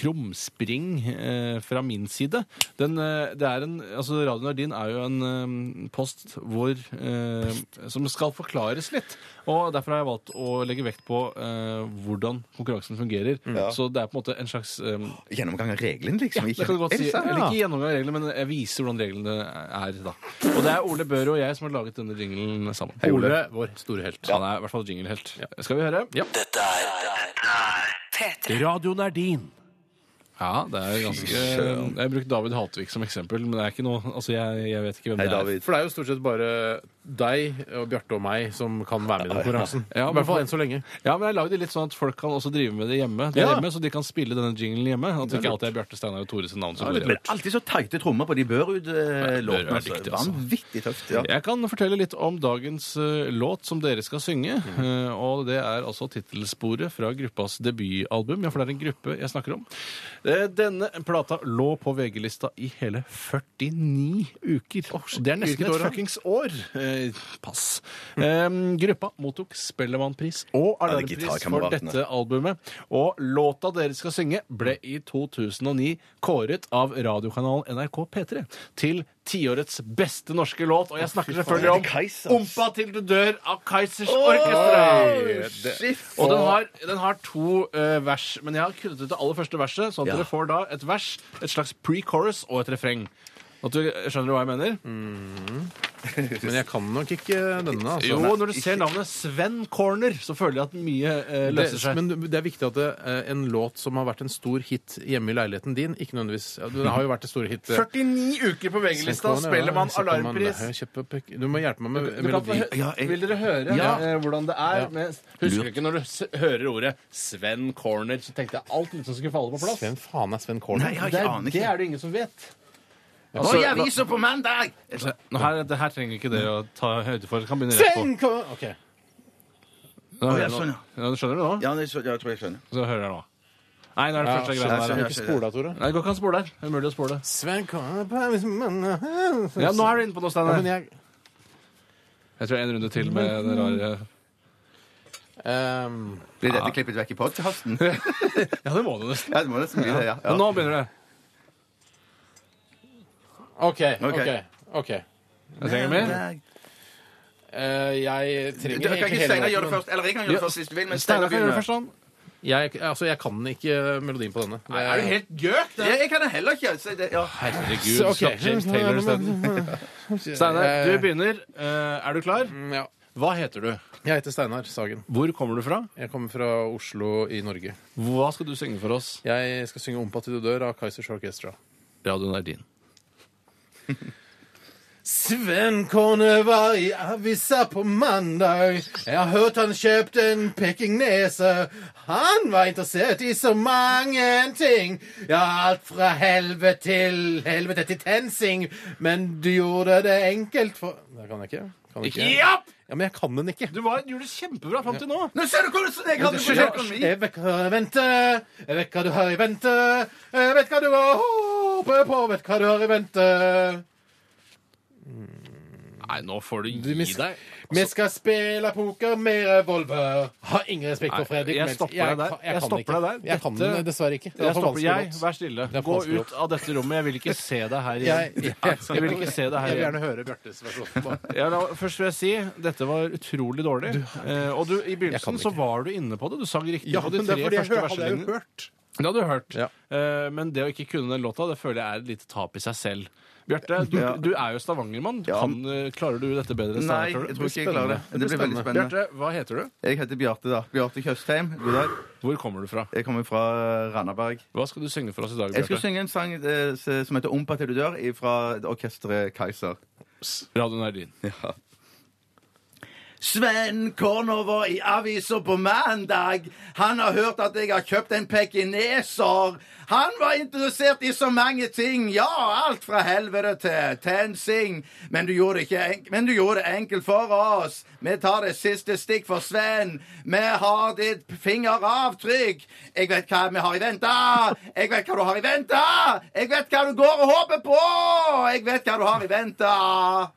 krumspring eh, fra min side. Den, eh, det er en, altså Radio Nardin er jo en eh, post hvor eh, Som skal forklares litt. Og derfor har jeg valgt å legge vekt på eh, hvordan konkurransen fungerer. Mm. Ja. Så det er på en måte en slags eh, Gjennomgang av reglene, liksom? ja, det kan du godt Er si. sant? Eller ikke gjennomgang av reglene, men jeg viser hvordan reglene er da. Og det er Ole Børre og jeg som har laget denne jinglen sammen. Hei, Ole. Ole, vår store helt. Han er i hvert fall jinglehelt. Skal vi høre? Ja. Dette er Radioen er din. Ja, det er ganske Søren. Jeg brukte David Hatvik som eksempel, men det er ikke noe Altså, jeg, jeg vet ikke hvem det er. For det er jo stort sett bare deg og Bjarte og meg som kan være med i den konkurransen. Ja, I hvert fall enn så lenge. Ja, men jeg lagde det litt sånn at folk kan også drive med det hjemme, der Ja. hjemme så de kan spille denne jinglen hjemme. At Det det er ikke lurt. alltid er Bjarte Steinar og Tore sitt navn som Ja, går litt igjen. lurt. Alltid så tighte trommer på de Børre er Børud-låtene. Altså. dyktig, altså. Vanvittig tøft. Ja. Jeg kan fortelle litt om dagens eh, låt som dere skal synge. Mm. eh, og det er altså tittelsporet fra gruppas debutalbum. Ja, for det er en gruppe jeg snakker om. Eh, denne plata lå på VG-lista i hele 49 uker. det er nesten Hvilket år et da? fuckings år. Eh, Eh, pass. Em, gruppa mottok Spellemannpris og Ja, det er Alarmpris for gitarkameratene. dette albumet. Og låta dere skal synge, ble i 2009 kåret av radiokanalen NRK P3 til tiårets beste norske låt. Og jeg snakker selvfølgelig om Ompa til du dør av Kaizers Orkestra. Og den har, den har to eh, vers, men jeg har kuttet ut det aller første verset, sånn at Ja. dere får da et vers, et slags pre-chorus og et refreng. At du, skjønner du hva jeg mener? Mm. Men jeg kan nok ikke denne. Altså. Jo, når du ser navnet Sven Corner, så føler jeg at mye eh, løser seg. Det, men det er viktig at det, eh, en låt som har vært en stor hit hjemme i leiligheten din Ikke nødvendigvis ja, Den har jo vært en stor hit. eh, 49 uker på VG-lista, Sven Kåne, ja, Spellemann Sven Kåne, alarmpris. det er jo kjempe- Du må hjelpe meg med Du kan få hø- Vil dere høre Ja. eh, hvordan det er? Ja. Med, husker du ikke når du s hører ordet Sven Corner, så tenkte jeg alt liksom skulle falle på plass? Hvem faen er Sven Kålen? det, er- det er det ingen som vet. Altså, Oi, jeg viser på mandag! Nå, her, det her trenger ikke det å ta høyde for. Det kan begynne rett på. Sven Kålen! Ok. Nå, Å, hører ja, jeg sånn, nå. ja, du skjønner du nå? Ja, jeg tror jeg skjønner. Så hører jeg nå. Nei, nå er det Ja, første jeg greia skjønner. der. Du kan ikke spole av, Tore. Nei, det går ikke an å spole her. Det er umulig å spole. Sven Kålen på- Ja, nå er du inne på noe, Steinar. Ja, men jeg- Jeg tror en runde til med det rare Ehm, Blir dette klippet vekk i podkasten? Ja, det må det nesten. Ja, det må nesten bli det, ja. Men Nå begynner det. OK. Ok. OK. ok. Jeg trenger mer. Eh, jeg trenger Dere kan ikke hele Steinar gjøre det låten. først, eller jeg kan gjøre det Ja. først hvis du vil, men Steinar kan gjøre det begynner. først, han. Jeg, altså, jeg kan ikke melodien på denne. Nei, er du helt gjøk? Ja, jeg kan det heller ikke. Så det, ja. Herregud, Så, ok. slapp James Taylor isteden. Steinar, du begynner. Eh, er du klar? mm, Ja. Hva heter du? Jeg heter Steinar Sagen. Hvor kommer du fra? Jeg kommer fra Oslo i Norge. Hva skal du synge for oss? Jeg skal synge 'Ompa til du dør' av Kaizers Orchestra. Radioen er din. Sven Kåne var i avisa på mandag. Jeg har hørt han kjøpte en pekingnese. Han var interessert i så mange ting. Ja, alt fra helvete til helvete til tensing. Men du gjorde det enkelt for Det kan jeg ikke. Kan jeg ikke. Ja! Ja, men jeg kan den ikke. Du var, gjorde det kjempebra fram til nå. Nå ser du hvordan jeg hadde på økonomi! Jeg vet hva jeg venter, jeg vet hva du har i vente. Jeg vet hva du har håpet på, vet hva du har i vente. Nei, nå får du gi Du, vi deg. skal- Vi Altså- skal spille poker med revolver. Har ingen respekt for Nei, Fredrik. jeg Meltz. stopper deg der. kan- Jeg, Jeg kan stopper ikke. deg der. Jeg kan Dette- den dessverre ikke. Det er Jeg for stopper, vanskelig jeg, låt. vær stille. Det er for Gå vanskelig ut av dette rommet. Jeg vil ikke se deg her igjen. Jeg- Jeg, vil ikke se deg her Jeg igjen. vil gjerne høre Bjartes versjon. Ja, da, først vil jeg si dette var utrolig dårlig. Eh, og du, i begynnelsen så var du inne på det. Du sang riktig Ja, på de men det er tre fordi jeg første hør- hadde jeg verselinjene. jo hørt. Det hadde du hørt. Eh, men det å ikke kunne den låta, det føler jeg er et lite tap i seg selv. Bjarte, du, Ja. du er jo stavangermann. Kan, eh, klarer du dette bedre? enn Steinar, Nei, tror du? jeg tror ikke jeg klarer det. Det blir veldig spennende. Bjarte, hva heter du? Jeg heter Bjarte, da. Bjarte Tjøstheim. God dag. Hvor kommer du fra? Jeg kommer fra Randaberg. Hva skal du synge for oss i dag, Jeg skal Bjarte? synge en sang eh, s- som heter 'Ompa til du dør' fra orkesteret Kaiser. Radioen er din. Ja. Sven Kornover i avisa på mandag. Han har hørt at jeg har kjøpt en pekineser. Han var interessert i så mange ting. Ja, alt fra helvete til tensing. Men du gjorde det, ikke enk Men du gjorde det enkelt for oss. Vi tar det siste stikk for Sven. Vi har ditt fingeravtrykk. Jeg vet hva vi har i vente. Jeg vet hva du har i vente. Jeg vet hva du går og håper på. Jeg vet hva du har i vente.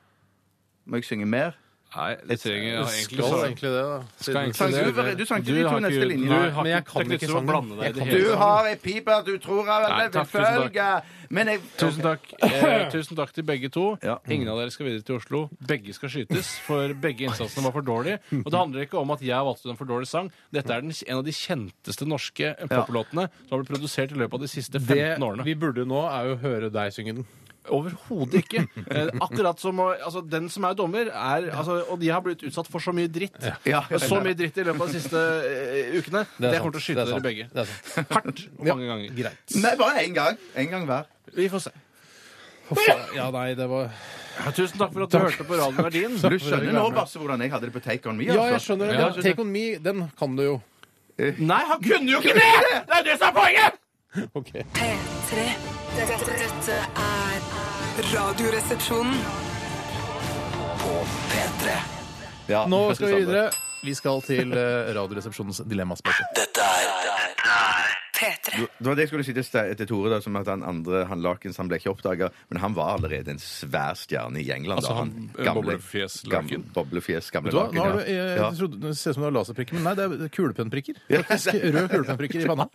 Må jeg synge mer? Nei, du trenger ja, egentlig Skal så- egentlig det, da. Skal egentlig Sang det. du var- du sang ikke Du de to har neste ikke- linjene. Du Nei, har men jeg ikke kan teknikk ikke til å sangen. blande deg i det Jeg kan- hele Du tatt. har ei pipe du tror Nei, alle vil takk, tusen takk. følge, men jeg Tusen takk. Eh, tusen takk til begge to. Ingen av dere skal videre til Oslo. Begge skal skytes, for begge innsatsene var for dårlige. Og det handler ikke om at jeg valgte en for dårlig sang. Dette er den, en av de kjenteste norske poplåtene som har blitt produsert i løpet av de siste 15 årene. Det vi burde nå, er jo å høre deg synge den. Overhodet ikke. Eh, Akkurat som å- altså, Den som er dommer, er altså, Og de har blitt utsatt for så mye dritt. Ja. Ja. Så mye dritt i løpet av de siste eh, ukene. Det Det, er sant. kommer til å Det skyte er dere sant. begge. Hardt og mange ganger. Nei, bare én gang. Én gang hver. Vi får se. Ja, nei, det var Tusen takk for at du Takk. hørte på radioen Verdien. Du skjønner nå, Basse, hvordan jeg hadde det på Take On Me? altså. Ja, altså. jeg skjønner det. Ja. Take On Me, den kan du jo. Nei, han kunne jo ikke det! Det er det som er poenget! Ok. P3. Dette, dette er Radioresepsjonen. P3. Nå skal vi videre. Vi skal til eh, Radioresepsjonens dilemmaspørsmål. Dette er P3. P3. Det var det jeg skulle si til, Ste- til Tore, da, som at han andre han Lakens han ble ikke oppdaga, men han var allerede en svær stjerne i England. Altså, da, han, eh, boblefjes gam- Laken. Boblefjes, gamle Vet du hva, Laken. nå har du, ja. jeg, Ja. jeg trodde, det ser ut som du har laserprikker, men nei, det er kulepennprikker. Faktisk Røde kulepennprikker i panna.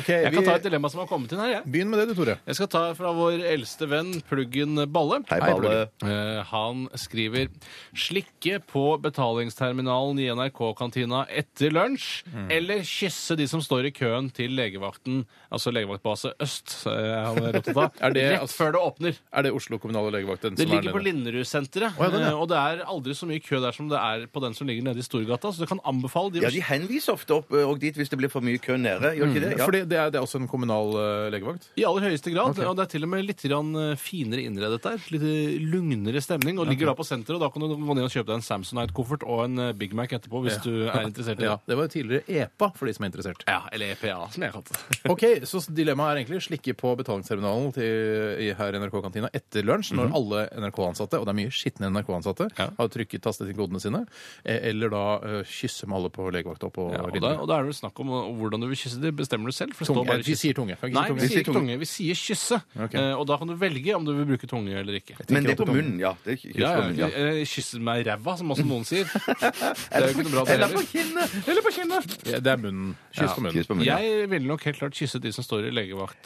Okay, Jeg kan ta et dilemma som har kommet inn her. Jeg. Begynn med det, du, Tore. Jeg skal ta fra vår eldste venn, Pluggen Balle. Hei, Balle. Pluggen. Eh, han skriver slikke på betalingsterminalen i NRK-kantina etter lunsj, eller kysse de som står i køen til legevakten, altså legevaktbase Øst. eh, Han er opptatt av. Er det, Rett før det åpner. Er det Oslo kommunale legevakt? den Det som er ligger på nede? Linderud-senteret. Å, ja, den, ja. eh, Og det er aldri så mye kø der som det er på den som ligger nede i Storgata, så du kan anbefale de ja, de henviser ofte opp eh, og dit hvis det blir for mye kø nede. Gjør ikke det? Ja. Mm. Fordi det er, det er også en kommunal eh, legevakt? I aller høyeste grad. Og det er til og med litt grann eh, finere innredet der. Litt eh, lugnere stemning. Og ligger da på senteret, og da kan du gå ned og kjøpe deg en Samsonite-koffert og en eh, Big Mac etterpå hvis Ja. du er interessert i det. Ja, det var jo tidligere EPA, for de som er interessert. Ja, eller EPA, som jeg kalte det. OK, så dilemmaet er egentlig slikke på betalingsterminalen til, i, her i NRK-kantina etter lunsj, Mhm. når alle NRK-ansatte, og det er mye skitne NRK-ansatte, har trykket tastet inn kodene sine, eh, eller da eh, kysse med alle på legevakta på Ja, og, da, Linderud. og da er det vel snakk om eh, hvordan du vil kysse. Det bestemmer du selv. For det Tunge. står bare Vi kysse. sier tunge. Kan vi ikke si Nei, tunge? vi sier ikke tunge. Vi sier kysse. Eh, Og da kan du velge om du vil bruke tunge eller ikke. Men det er på munnen, ja. Det er kyss Ja, på munnen, ja, ja. eh, Kysser meg i ræva, som også noen sier. Det er jo ikke noe bra det Eller på heller. kinnet! Eller på kinnet! Ja, det er munnen. Kyss Ja, på munnen. kyss på munnen, ja. Jeg ville nok helt klart kysset de som står i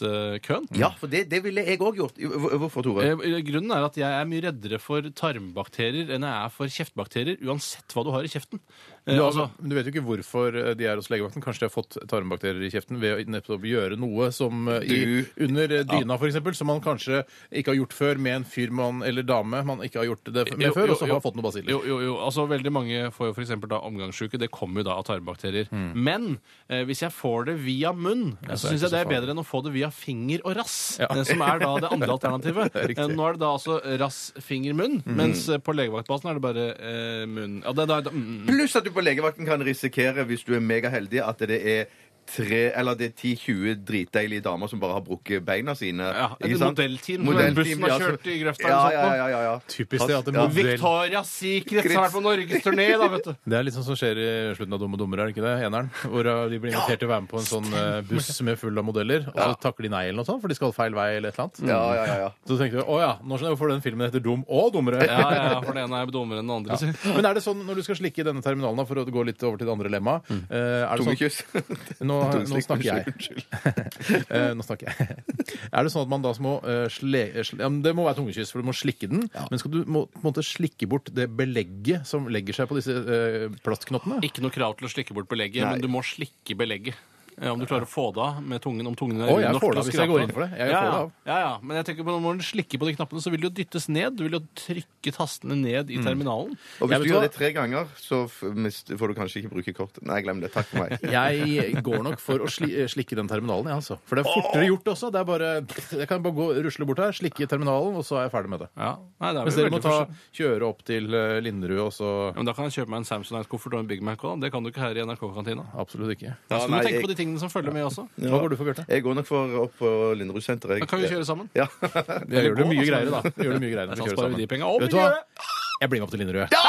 legevaktkøen. Ja, for det, det ville jeg òg gjort. Hvor- Hvorfor, Tore? Eh, Grunnen er at jeg er mye reddere for tarmbakterier enn jeg er for kjeftbakterier, uansett hva du har i kjeften. Eh, Du, har- altså, men du vet jo ikke hvorfor eh, de er hos legevakten. Kanskje de har fått tarmbakterier i kjeften ved å nettopp gjøre noe som eh, i, under eh, dyna, for f.eks., som man kanskje ikke har gjort før med en fyr man, eller dame man ikke har gjort det f- med Jo, før, jo, og som jo. har fått noen basiller. Jo, jo, jo. Altså, veldig mange får jo f.eks. omgangssjuke. Det kommer jo da av tarmbakterier. Men eh, hvis jeg får det via munn, Mm. Ja, så så er det syns ikke jeg det så er farlig. bedre enn å få det via finger og rass, Ja. eh, som er da det andre alternativet. Det er riktig. Mm. Eh, Nå er det da altså rass, finger, munn, mens eh, på legevaktbasen er det bare eh, munn. Ja, det, det, det, mm. Pluss at du på legevakten kan risikere, hvis du er megaheldig, at det er tre, eller det er 10-20 dritdeilige damer som bare har brukket beina sine. Ja, et modellteam som bussen har kjørt i grøfta liksom. eller Ja, sånt ja, nå. ja, ja, ja. Typisk det at en Ja. modell- Victoria's Secret har vært på norgesturné, da, vet du. Det er litt sånn som skjer i slutten av Dumme dummere, er det ikke det? Eneren. Hvor eh, de blir invitert til å være med på en sånn eh, buss med full av modeller, og så takker de nei eller noe sånt, for de skal feil vei eller et eller annet. Ja, ja, ja, ja. Så tenkte vi å ja, nå skjønner jeg hvorfor den filmen heter Dum og dummere. Ja, ja, ja, for det ene er dummere enn det andre. Ja. sier. Men er det sånn, når du skal slikke i denne terminalen, da, for å gå litt over til det andre lemmaet Mm. eh, er det sånn- Tungekyss. Nå, nå Tungeslikk, snakker jeg. Eh, nå snakker jeg. er det sånn at man da må eh, sle, sle, ja, men Det må være tungekyss, for du må slikke den. Men skal du må, på en måte slikke bort det belegget som legger seg på disse eh, plastknottene? Ikke noe krav til å slikke bort belegget, Nei. men du må slikke belegget. Eh, Om du klarer å få det av med tungen. Om tungen er Å, rund jeg nok får til det å av hvis skrape jeg går inn for det. Jeg ja, får ja. det av. Ja, ja. Men jeg tenker på når du slikker på de knappene, så vil det jo dyttes ned. Du vil jo trykke tastene ned i Mm. terminalen. Jeg Og hvis vet du hva- gjør det tre ganger, så f- mist- får du kanskje ikke bruke kortet. Nei, glem det. Takk for meg. Jeg går nok for å sli, eh, slikke den terminalen, jeg, altså. For det er fortere gjort også. Det er bare, jeg kan bare gå, rusle bort her, slikke i terminalen, og så er jeg ferdig med det. Nei, det er Mens vel dere må veldig ta, forskjell- kjøre opp til eh, Linderud, og så ja, men Da kan jeg kjøpe meg en Samsonite-koffert og en Big Mac. Også. da. Det kan du ikke her i NRK-kantina. Absolutt ikke. Så Ja, du må nei, tenke jeg- på de tingene som følger med også. Ja. Jeg går nok for opp på Linderud-senteret. jeg. Da kan vi kjøre sammen. Ja. Vi gjør det mye greiere, da. Vi Gjør det mye greiere når Da vi kjører sparer vi de sammen. penga. Og Vet du hva? miljøet! Jeg blir med opp til Linderud.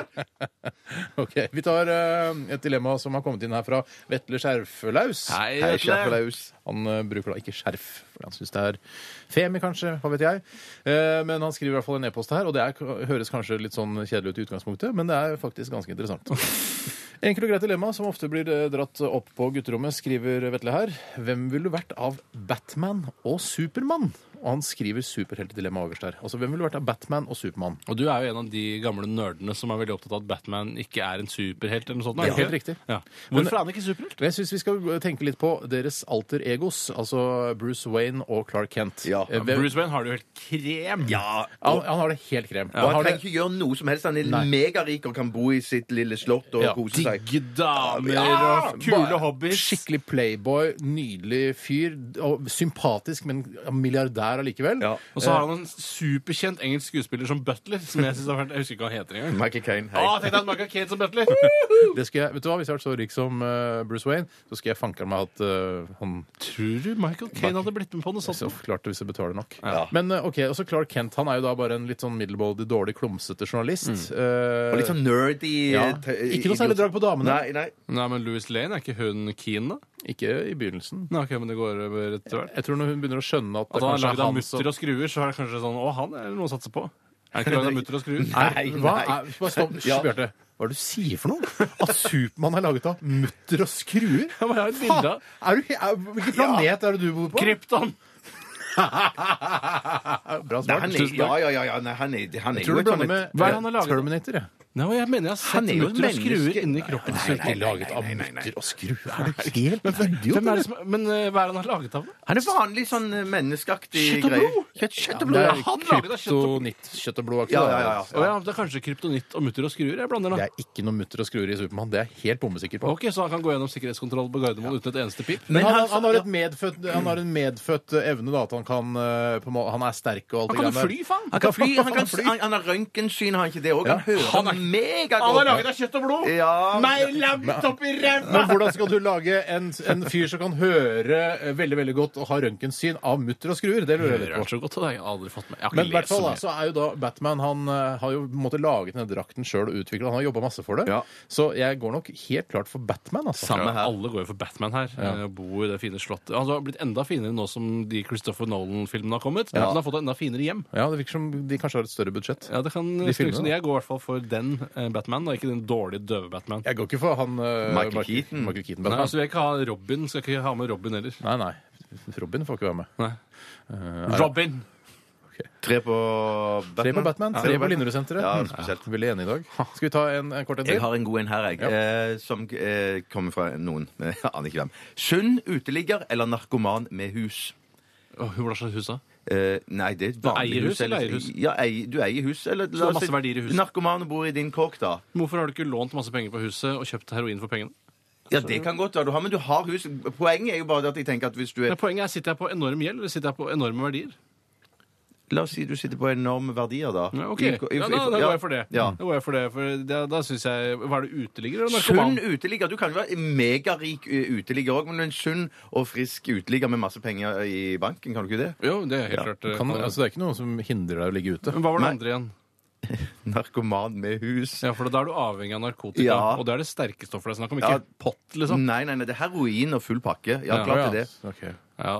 ok, Vi tar eh, et dilemma som har kommet inn her fra Vetle Skjerflaus. Hei, Hei, Vetle. Skjerflaus. Han eh, bruker da ikke skjerf, for han syns det er femi, kanskje. Hva vet jeg. Eh, men han skriver i hvert fall en e-post her, og det er, høres kanskje litt sånn kjedelig ut i utgangspunktet, men det er faktisk ganske interessant. Enkelt og greit dilemma som ofte blir eh, dratt opp på gutterommet, skriver Vetle her. Hvem ville du vært av Batman og Supermann? Og han skriver superheltedilemma øverst her. Altså, hvem ville vært av Batman og Supermann? Og du er jo en av de gamle nerdene som er veldig opptatt av at Batman ikke er en superhelt eller noe sånt. er Ja, det helt ikke? riktig. Ja. Hvorfor er han ikke superhelt? Jeg syns vi skal tenke litt på deres alter egos, altså Bruce Wayne og Clark Kent. Eh, hvem- Bruce Wayne har det jo helt krem. Ja, han, han har det helt krem. Og han trenger ikke gjøre noe som helst. Han er Nei. megarik og kan bo i sitt lille slott og Ja, kose seg. Digge damer og Kule hobbyer. Skikkelig playboy, nydelig fyr. Og sympatisk, men milliardær er allikevel. Eh, Og så har han en superkjent engelsk skuespiller som Butler. Som Jeg synes har vært, jeg husker ikke hva han heter engang. Michael Caine, hei. Å, tenk deg at Michael Caine som Butler! det skal jeg, vet du hva, Hvis jeg hadde vært så rik som eh, Bruce Wayne, så skal jeg fanke meg at eh, han Tror du Michael Caine hadde blitt med på noe sånt? Så klart det hvis jeg betaler nok. Men eh, ok, også Clark Kent han er jo da bare en litt sånn middelmådig, dårlig, klumsete journalist. Eh, Mm. Og litt sånn nerdy, Ja. te- Ikke noe særlig drag på damene. Nei, Nei, men Louis Lane, er ikke hun keen, da? Ikke i begynnelsen. Nei, ok, men det går eh, over etter hvert. Jeg tror når hun begynner å skjønne at At han er kanskje lagd av han som- mutter og skruer, så er det kanskje sånn Å, han er det noe å satse på. Er det ikke lagd av mutter og skruer? Nei, hva er, hva, stopp, hysj, Ja. Bjarte. Hva er det du sier for noe? At Supermann er laget av mutter og skruer? bilde Faen, er du, he- er, hvilken planet er det du bor på? Krypton! Bra Nei, svart. han er, Tusen ja, takk. ja, ja, ja. Nei, han er, han er Jeg tror jo du blander med Hva er han har laget? Terminator, jeg. Nei, jeg mener jeg har sett mutter og skruer inni kroppen. Nei, nei, laget av mutter og skruer. Er du helt Hvem er det som, men eh, hva er det han har laget av? Han er vanlig sånn eh, menneskeaktig Kjøtt og greie. blod. Kjøtt, kjøtt og Ja, blod. det er Han laget av kjøtt og- Kjøtt og blod. Ja, ja, ja, ja. Å ja, det er kanskje kryptonitt og mutter og skruer jeg blander, da. Det er ikke noe mutter og skruer i Supermann. Det er jeg helt bommesikker på. Ok, Så han kan gå gjennom sikkerhetskontroll på Gardermoen uten et eneste pip? Men han, han, har et medfødt, han har en medfødt evne, da. At han kan eh, på en måte, Han er sterk og alt Han kan greiene der. fly, faen! Han kan fly, han, kan, han, han har røntgensyn, har han ikke det òg? Ja. Han hører han Han er- er, megagodt. Han er laget av kjøtt og blod! Ja. Meg langt opp i Men hvordan skal du lage en, en fyr som kan høre eh, veldig veldig godt og ha røntgensyn av mutter og skruer? Det lurer jeg litt Hører på. han så godt, og det har jeg aldri fått med. Jeg har Men i ikke hvert lest så fall da, mye. så er jo da Batman Han eh, har jo på en måte laget denne drakten sjøl og utvikla Han har jobba masse for det. Så jeg går nok helt klart for Batman. Altså. Ja, Alle går jo for Batman her. Ja. Eh, Bor i det fine slottet. Han har blitt enda finere nå som de Christopher Nolan-filmene har kommet. Ja. Han har fått et enda finere hjem. Ja, Det virker som de kanskje har et større budsjett. Ja, det kan De filmene, liksom, da. Jeg går i hvert fall for den eh, Batman, og ikke den dårlige døve Batman. Jeg går ikke for han eh, Michael Keaton. Michael Keaton Nei, Batman. altså, jeg vil ikke ha Robin. Skal ikke ha med Robin heller. Nei, nei. Robin får ikke være med. Eh, er- Robin! Tre på Batman. Tre på Batman, Ja, tre på Batman. Linderud-senteret. Ja, Mm. spesielt. Veldig enig i dag. Skal vi ta en, en kort en til? Jeg har en god en her, jeg. Ja. Eh, som eh, kommer fra noen. Jeg aner ikke hvem. Sunn uteligger eller narkoman med hus? Eh, Hva slags hus, da? nei, det er et vanlig Eier hus eller eier hus? Ja, ei- du eier hus. Eller, Så det er masse verdier i huset? Narkoman bor i din kåk, da. Hvorfor har du ikke lånt masse penger på huset og kjøpt heroin for pengene? Ja, det kan godt være du har, men du har hus. Poenget er jo bare det at jeg tenker at hvis du er Men poenget er, sitter jeg på enorm gjeld, eller sitter jeg på enorme verdier? La oss si du sitter på enorme verdier, da. Ja, ok, I- ja, i- i- da, da går ja. jeg for det. Ja. Da går jeg for det, for da, da synes jeg Hva er det uteligger eller narkoman? Sunn uteligger. Du kan jo være megarik ø, uteligger òg, men du er en sunn og frisk uteligger med masse penger i banken, kan du ikke det? Jo, det er helt klart. eh, Du Kan, altså, det er ikke noe som hindrer deg å ligge ute. Men hva var det andre igjen? Narkoman med hus. Ja, for da er du avhengig av narkotika. Ja. Og det er det sterke stoffet det er snakk om. Ikke Ja. pott, liksom. Nei, nei, nei, det er heroin og full pakke. Ja, Ja, klart ja. det er det. Ok. Ja.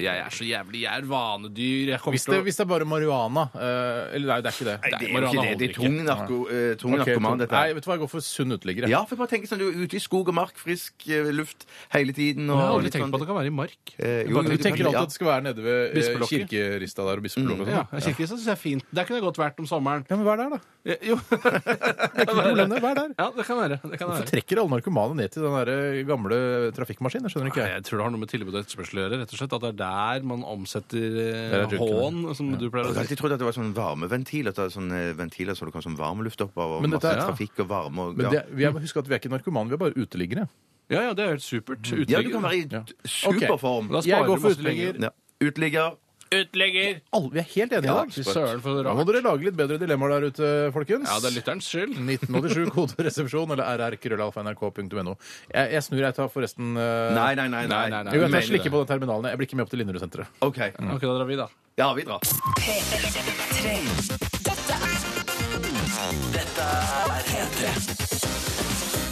Jeg er så jævlig Jeg er vanedyr. Jeg kommer Hvis det, til å hvis det er bare marihuana eh, Eller nei, det er ikke det. Nei, det er jo ikke marihuana det. Det er holder tung ikke. narko- eh, tung Ok, narkoman, dette her. Nei, vet du hva, jeg går for sunn uteligger. jeg. Ja, for jeg bare tenker sånn, du er ute i skog og mark, frisk eh, luft hele tiden. Og Jeg har aldri litt tenkt sånn- på at det kan være i mark. Eh, jo, du det- tenker alltid ja. at det skal være nede ved eh, Bispelokket. kirkerista der og bispelokket. og Mm, Ja, sånn. kirken syns jeg er fint. Der kunne jeg godt vært om sommeren. Ja, men vær der, da. Ja, Jo. det er ikke noe problem, det. Vær der. Ja, det kan være. Det kan Hvorfor være. trekker alle narkomane ned til den der eh, gamle trafikkmaskinen? Jeg skjønner ikke. Nei, jeg tror det har noe med tilbud og etterspørsel å gjøre. rett og slett, At det er der man omsetter Der er eh, junken. hån, som du pleier å Jeg har si. alltid trodd at det var sånn varmeventil, at det er sånne ventiler så det kom sånn varmluft opp av, og Men masse dette er- trafikk og varme og Men ja. det, vi er, husk at vi er ikke narkomane, vi er bare uteliggere. Mm. Ja, ja, det er helt supert. Uteligger. Ja, du kan være i Ja. superform. Ok, da sparer Jeg går du for masse uteligger. penger. Ja. Uteligger. Utlegger! Alle, vi er helt enige i Ja, dag. fy søren, for Da må dere lage litt bedre dilemmaer der ute, eh, folkens. Ja, det er lytterens skyld. 1987, koderesepsjon eller rrkrøllalfa.nrk.no. Jeg, jeg snur, jeg tar forresten eh, Nei, nei, nei, nei. Jo, Mener jeg tar slikke det. på den terminalen. Jeg blir ikke med opp til Linderud-senteret. OK. Mm. Ok, da drar vi, da. Ja, vi drar. P3. Dette er Dette er P3.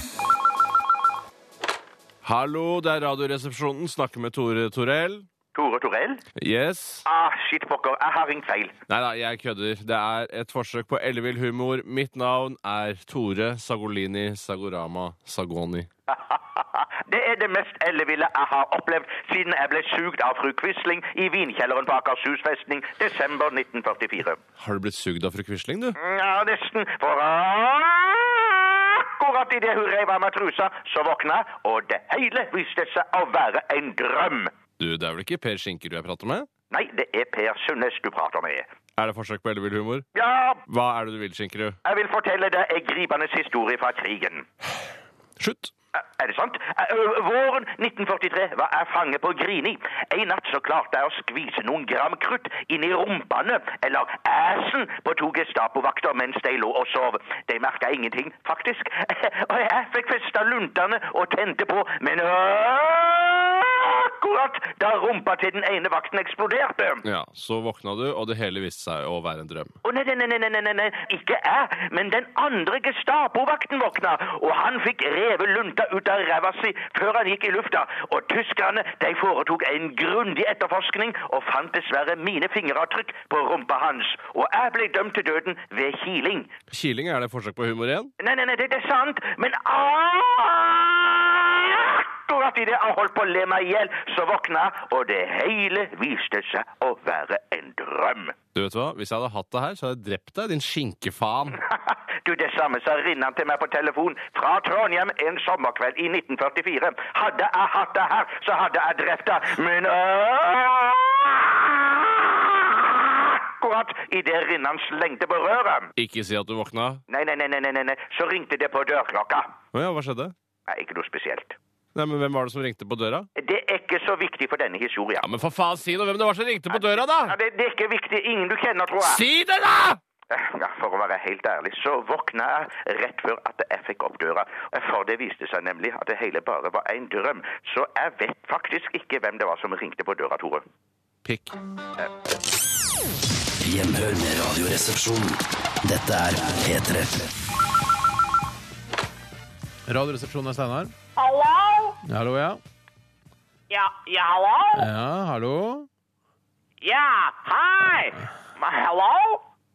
Hallo, det er Radioresepsjonen. Snakker med Tore Torell. Tore Torell? Yes. Ah, shit, pokker. Jeg har ringt feil. Nei da, jeg kødder. Det er et forsøk på ellevill humor. Mitt navn er Tore Sagolini Sagorama Sagoni. Det er det mest elleville jeg har opplevd siden jeg ble sugd av fru Quisling i vinkjelleren på Akershus festning desember 1944. Har du blitt sugd av fru Quisling, du? Ja, nesten. For akkurat idet hun reiv av meg trusa, så våkna jeg, og det hele viste seg å være en drøm. Du, Det er vel ikke Per Skinkerud jeg prater med? Nei, det er Per Sundnes du prater med. Er det forsøk på ellevill humor? Ja, Hva er det du vil, Skinkerud? jeg vil fortelle deg en gripende historie fra krigen. Slutt. Er det sant? Eh, ø, Våren 1943 var jeg fange på Grini. En natt så klarte jeg å skvise noen gram krutt inn i rumpene, eller æsen, på to Gestapo-vakter mens de lå og sov. De merka ingenting, faktisk. Og jeg fikk festa luntene og tente på, men akkurat da rumpa til den ene vakten eksploderte. Ja, Så våkna du, og det hele viste seg å være en drøm. Å nei, nei, nei, nei, nei, nei, nei, ikke jeg, men den andre Gestapo-vakten våkna, og han fikk revet lunta ut av ræva si før han gikk i lufta, og tyskerne, de foretok en grundig etterforskning og fant dessverre mine fingeravtrykk på rumpa hans, og jeg ble dømt til døden ved kiling. Kiling, er det forsøk på humor igjen? Nei, nei, nei, det, det er sant, men akkurat idet jeg holdt på å le meg i hjel, så våkna jeg, og det hele viste seg å være en drøm. Du vet hva, Hvis jeg hadde hatt det her, så hadde jeg drept deg, din skinkefaen. Du, det samme sa Rinnan til meg på telefon fra Trondheim en sommerkveld i 1944. Hadde jeg hatt det her, så hadde jeg drept deg. Men akkurat idet Rinnan slengte på røret Ikke si at du våkna. nei nei, nei, nei, nei, nei, nei, så ringte det på dørklokka. Å ja, hva skjedde? Nei, ikke noe spesielt. Nei, men Hvem var det som ringte på døra? Det er ikke så viktig for denne historien. Ja, Men for faen, si noe hvem det var som ringte på døra, da! Ja, det, det er ikke viktig. Ingen du kjenner, tror jeg. Si det, da! Ja, For å være helt ærlig, så våkna jeg rett før at jeg fikk opp døra. For det viste seg nemlig at det hele bare var en drøm. Så jeg vet faktisk ikke hvem det var som ringte på døra, Tore. Eh, Pikk. Gjenhør med Radioresepsjonen. Dette er P3. Radioresepsjonen er Steinar. Hallo? Hallo, ja. Ja, ja, hallo? Ja, hallo. Yeah, hi. My, hello?